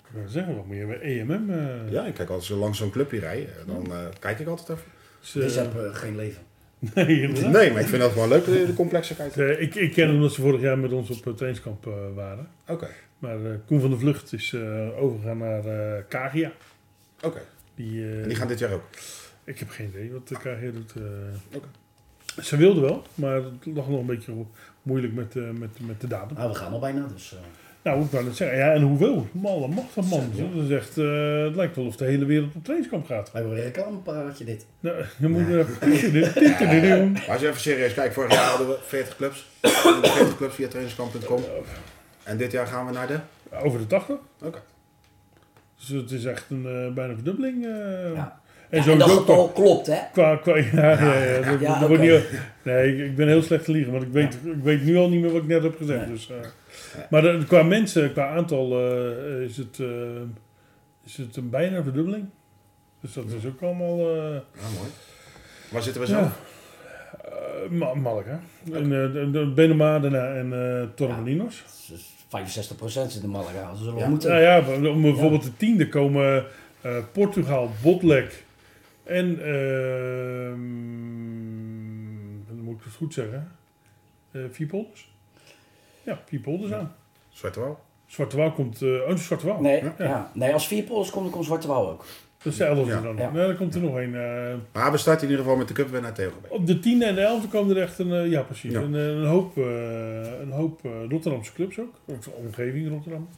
[SPEAKER 2] Ik wou zeggen, wat moet je bij EMM? eh,
[SPEAKER 4] Ja, ik kijk als ze langs zo'n clubje rijden, eh, dan eh, kijk ik altijd even.
[SPEAKER 2] is, eh,
[SPEAKER 3] Deze hebben eh, geen leven.
[SPEAKER 2] nee, inderdaad.
[SPEAKER 4] Nee, maar ik vind dat gewoon leuk, de de complexiteit.
[SPEAKER 2] Eh, ik, ik ken hem omdat ze vorig jaar met ons op het trainingskamp eh, waren.
[SPEAKER 4] Oké,
[SPEAKER 2] Maar eh, Koen van der Vlucht is eh, overgegaan naar eh, Kagia.
[SPEAKER 4] oké.
[SPEAKER 2] Die, eh,
[SPEAKER 4] En die gaan dit jaar ook.
[SPEAKER 2] Ik heb geen idee wat de KG doet. eh.
[SPEAKER 4] Oké.
[SPEAKER 2] Ze wilde wel, maar het lag nog een beetje mo- moeilijk met, eh, met, met de datum.
[SPEAKER 3] Nou, we gaan al bijna, dus... eh,
[SPEAKER 2] Nou, ik wou net zeggen. Ja, en hoeveel? Malle macht dat man. Dat is echt, eh, het lijkt wel of de hele wereld op trainingskamp gaat.
[SPEAKER 3] wij hebben weer een reclamepraatje dit.
[SPEAKER 2] Nou, je moet er doen.
[SPEAKER 4] Maar als je even serieus kijkt, vorig jaar hadden we 40 clubs. We hadden 40 clubs via trainingskamp.com. En dit jaar gaan we naar de...
[SPEAKER 2] Over de 80.
[SPEAKER 4] Oké.
[SPEAKER 2] Dus het is echt een eh, bijna verdubbeling. eh.
[SPEAKER 3] Ja.
[SPEAKER 2] En
[SPEAKER 3] en dat
[SPEAKER 2] sowieso
[SPEAKER 3] het al klopt, hè?
[SPEAKER 2] Qua, qua, ja, ja, ja, dat- dat
[SPEAKER 3] Ja,
[SPEAKER 2] wordt
[SPEAKER 3] oké.
[SPEAKER 2] niet- nee, ik, ik ben heel slecht te liegen, want ik weet, ik weet nu al niet meer wat ik net heb gezegd.
[SPEAKER 3] Nee.
[SPEAKER 2] Dus, eh, maar de- qua mensen, qua aantal, eh, is, het, eh, is het een bijna verdubbeling. Dus dat is ook allemaal eh
[SPEAKER 4] Nou, mooi. Waar zitten we
[SPEAKER 2] Ja.
[SPEAKER 4] zelf?
[SPEAKER 2] eh, ma- mallig, hè? En, eh, de- de Benoma, daarna en eh Torremolinos.
[SPEAKER 3] Dus 65% zit in Malaga, dus we zullen
[SPEAKER 4] Ja.
[SPEAKER 3] moeten...
[SPEAKER 2] Nou ja, om bijvoorbeeld de tiende komen eh, Portugal, Botlek en. ehm, dan moet ik het goed zeggen. eh, vier polders. Ja, vier polders aan.
[SPEAKER 4] Zwarte wel.
[SPEAKER 2] Zwarte Wouw komt. eh oh, Zwarte Wouw.
[SPEAKER 3] Nee, ja. nee, als vier pols komt, dan komt Zwarte Wouw ook.
[SPEAKER 2] Dat is de elfde
[SPEAKER 4] Ja.
[SPEAKER 2] dan.
[SPEAKER 3] Ja.
[SPEAKER 2] Nee, daar komt er nog een. eh,
[SPEAKER 4] Maar we starten in ieder geval met de cupwinnaar tegen elkaar.
[SPEAKER 2] op de tiende en de elfde komen er echt een. eh, ja, precies.
[SPEAKER 4] Ja.
[SPEAKER 2] Een, eh, een hoop, eh, een hoop eh, Rotterdamse clubs ook. Of omgeving Rotterdam.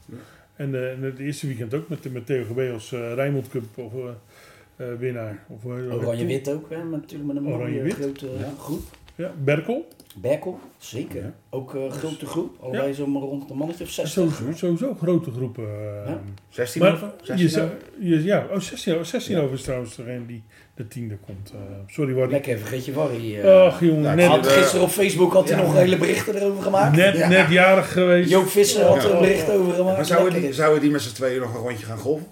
[SPEAKER 2] En, eh, en het eerste weekend ook met, met Theo GB als eh Rijnmond Cup of, eh, eh, winnaar. Of, eh,
[SPEAKER 3] Oranje-wit ook, hè? met- natuurlijk met een mooie
[SPEAKER 2] Oranje-wit.
[SPEAKER 3] grote eh, groep.
[SPEAKER 2] Ja, Berkel.
[SPEAKER 3] Berkel, zeker. Ook eh,
[SPEAKER 2] Dus-
[SPEAKER 3] grote groep, allebei zo maar rond een mannetje of 60.
[SPEAKER 2] Sowieso, sowieso grote groepen. eh.
[SPEAKER 3] Ja.
[SPEAKER 4] 16
[SPEAKER 2] Maar
[SPEAKER 4] over?
[SPEAKER 2] je
[SPEAKER 4] 16
[SPEAKER 2] zou-
[SPEAKER 4] over?
[SPEAKER 2] je, ja, oh, 16, over- 16 over is trouwens degene die de tiende komt. eh. sorry, Waddy.
[SPEAKER 3] Lekker, vergeet je warrie. eh.
[SPEAKER 2] Ach jongen,
[SPEAKER 4] Ja, ik
[SPEAKER 2] net,
[SPEAKER 4] had-
[SPEAKER 3] had gisteren op Facebook had hij nog hele berichten erover gemaakt.
[SPEAKER 2] net, net jarig geweest.
[SPEAKER 3] Joop Visser had er
[SPEAKER 2] Ja.
[SPEAKER 3] een bericht over gemaakt.
[SPEAKER 4] Maar zouden
[SPEAKER 3] Lekker
[SPEAKER 4] die,
[SPEAKER 3] is.
[SPEAKER 4] zouden die met z'n tweeën nog een rondje gaan golven?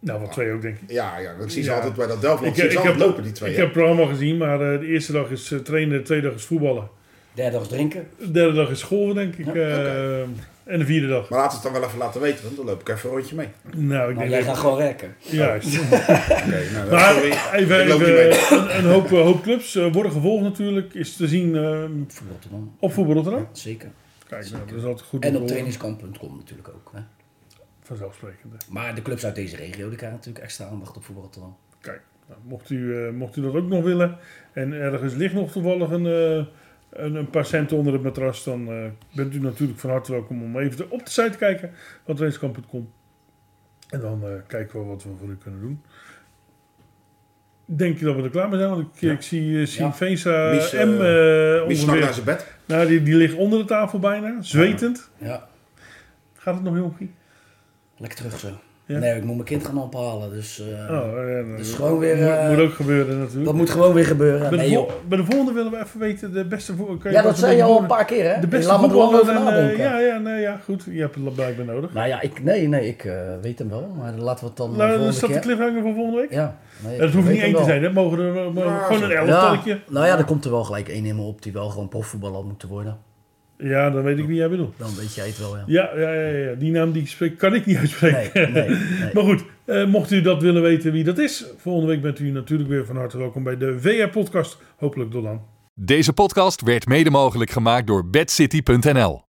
[SPEAKER 2] Nou, wat twee ook denk ik.
[SPEAKER 4] Ja, ja ik zie ze
[SPEAKER 2] Ja.
[SPEAKER 4] altijd bij dat Delft. Ik, zie
[SPEAKER 2] ik
[SPEAKER 4] ze altijd
[SPEAKER 2] heb-
[SPEAKER 4] lopen, die twee.
[SPEAKER 2] Ik
[SPEAKER 4] hè?
[SPEAKER 2] heb het programma gezien, maar eh, de eerste dag is eh, trainen, de tweede dag is voetballen.
[SPEAKER 3] Derde dag drinken.
[SPEAKER 2] De derde dag is school, denk ik. eh, En de vierde dag.
[SPEAKER 4] Maar laat het dan wel even laten weten, want dan loop ik even een rondje mee.
[SPEAKER 2] Nou, ik
[SPEAKER 3] Maar
[SPEAKER 2] denk
[SPEAKER 3] jij
[SPEAKER 2] dat-
[SPEAKER 3] gaat gewoon werken.
[SPEAKER 2] Juist.
[SPEAKER 4] Oké, nou,
[SPEAKER 2] Maar
[SPEAKER 4] sorry.
[SPEAKER 2] even,
[SPEAKER 4] Ik loop
[SPEAKER 2] even,
[SPEAKER 4] niet mee.
[SPEAKER 2] eh, een, een hoop, eh, hoop clubs eh, worden gevolgd natuurlijk. Is te zien eh,
[SPEAKER 3] Voor Rotterdam,
[SPEAKER 2] op Voetbal Rotterdam.
[SPEAKER 3] zeker.
[SPEAKER 2] Kijk, nou, dat is altijd goed. om
[SPEAKER 3] En
[SPEAKER 2] te
[SPEAKER 3] op
[SPEAKER 2] horen.
[SPEAKER 3] trainingskamp.com natuurlijk ook. Hè.
[SPEAKER 2] Vanzelfsprekend. hè.
[SPEAKER 3] Maar de clubs uit deze regio, die krijgen natuurlijk extra aandacht op voetbal Rotterdam.
[SPEAKER 2] Kijk, nou, mocht, u, eh, mocht u dat ook nog willen en ergens ligt nog toevallig een, eh, een, een paar centen onder het matras, dan eh, bent u natuurlijk van harte welkom om even te- op de site te kijken van trainingskamp.com. En dan eh, kijken we wat we voor u kunnen doen. Denk je dat we er klaar mee zijn? Want ik, ik zie eh Sien
[SPEAKER 3] Ja.
[SPEAKER 2] Veenstra
[SPEAKER 4] Mies, eh,
[SPEAKER 2] M eh,
[SPEAKER 4] Wie snak naar
[SPEAKER 2] ongeveer.
[SPEAKER 4] zijn bed?
[SPEAKER 2] Nou, die, die ligt onder de tafel bijna, zwetend.
[SPEAKER 3] Ja,
[SPEAKER 2] Gaat het nog, jonkie?
[SPEAKER 3] lekker terug zo.
[SPEAKER 2] Ja.
[SPEAKER 3] Nee, ik moet mijn kind gaan ophalen, dus eh,
[SPEAKER 2] Oh, ja, nou,
[SPEAKER 3] Dus gewoon weer,
[SPEAKER 2] Moet,
[SPEAKER 3] eh,
[SPEAKER 2] moet ook gebeuren natuurlijk.
[SPEAKER 3] dat moet gewoon weer gebeuren.
[SPEAKER 2] bij,
[SPEAKER 3] Nee,
[SPEAKER 2] de vol-
[SPEAKER 3] joh.
[SPEAKER 2] bij de volgende willen we even weten de beste voetballer. kan
[SPEAKER 3] Ja,
[SPEAKER 2] wat
[SPEAKER 3] dat zei je
[SPEAKER 2] doen?
[SPEAKER 3] al een paar keer, hè?
[SPEAKER 2] De beste
[SPEAKER 3] Laat me er wel
[SPEAKER 2] voetballer
[SPEAKER 3] over
[SPEAKER 2] en, eh,
[SPEAKER 3] nadenken.
[SPEAKER 2] ja, ja, nee, ja, goed. Je hebt het blijkbaar nodig.
[SPEAKER 3] Nou ja, ik, nee, nee, ik eh, weet hem wel, maar laten we het dan
[SPEAKER 2] Nou,
[SPEAKER 3] de
[SPEAKER 2] dat
[SPEAKER 3] volgende
[SPEAKER 2] is dat de
[SPEAKER 3] keer...
[SPEAKER 2] cliffhanger van volgende week?
[SPEAKER 3] Ja, nee,
[SPEAKER 2] Het
[SPEAKER 3] ik
[SPEAKER 2] hoeft
[SPEAKER 3] weet
[SPEAKER 2] niet
[SPEAKER 3] hem
[SPEAKER 2] één te
[SPEAKER 3] wel.
[SPEAKER 2] zijn, hè? Mogen er eh, mogen
[SPEAKER 4] Ja,
[SPEAKER 2] gewoon een
[SPEAKER 4] zo.
[SPEAKER 3] Ja,
[SPEAKER 2] elftalletje?
[SPEAKER 3] nou ja, er komt er wel gelijk één in me op die wel gewoon profvoetballer moet worden.
[SPEAKER 2] Ja. dan weet ik wie jij bedoelt.
[SPEAKER 3] Dan weet jij het wel, ja.
[SPEAKER 2] Ja, ja, ja, ja, ja. die naam die ik spreek, kan ik niet
[SPEAKER 3] Nee,
[SPEAKER 2] uitspreken.
[SPEAKER 3] nee, nee.
[SPEAKER 2] Maar goed, eh, mocht u dat willen weten wie dat is, volgende week bent u natuurlijk weer van harte welkom bij de VR-podcast. Hopelijk tot dan.
[SPEAKER 1] Deze podcast werd mede mogelijk gemaakt door bedcity.nl.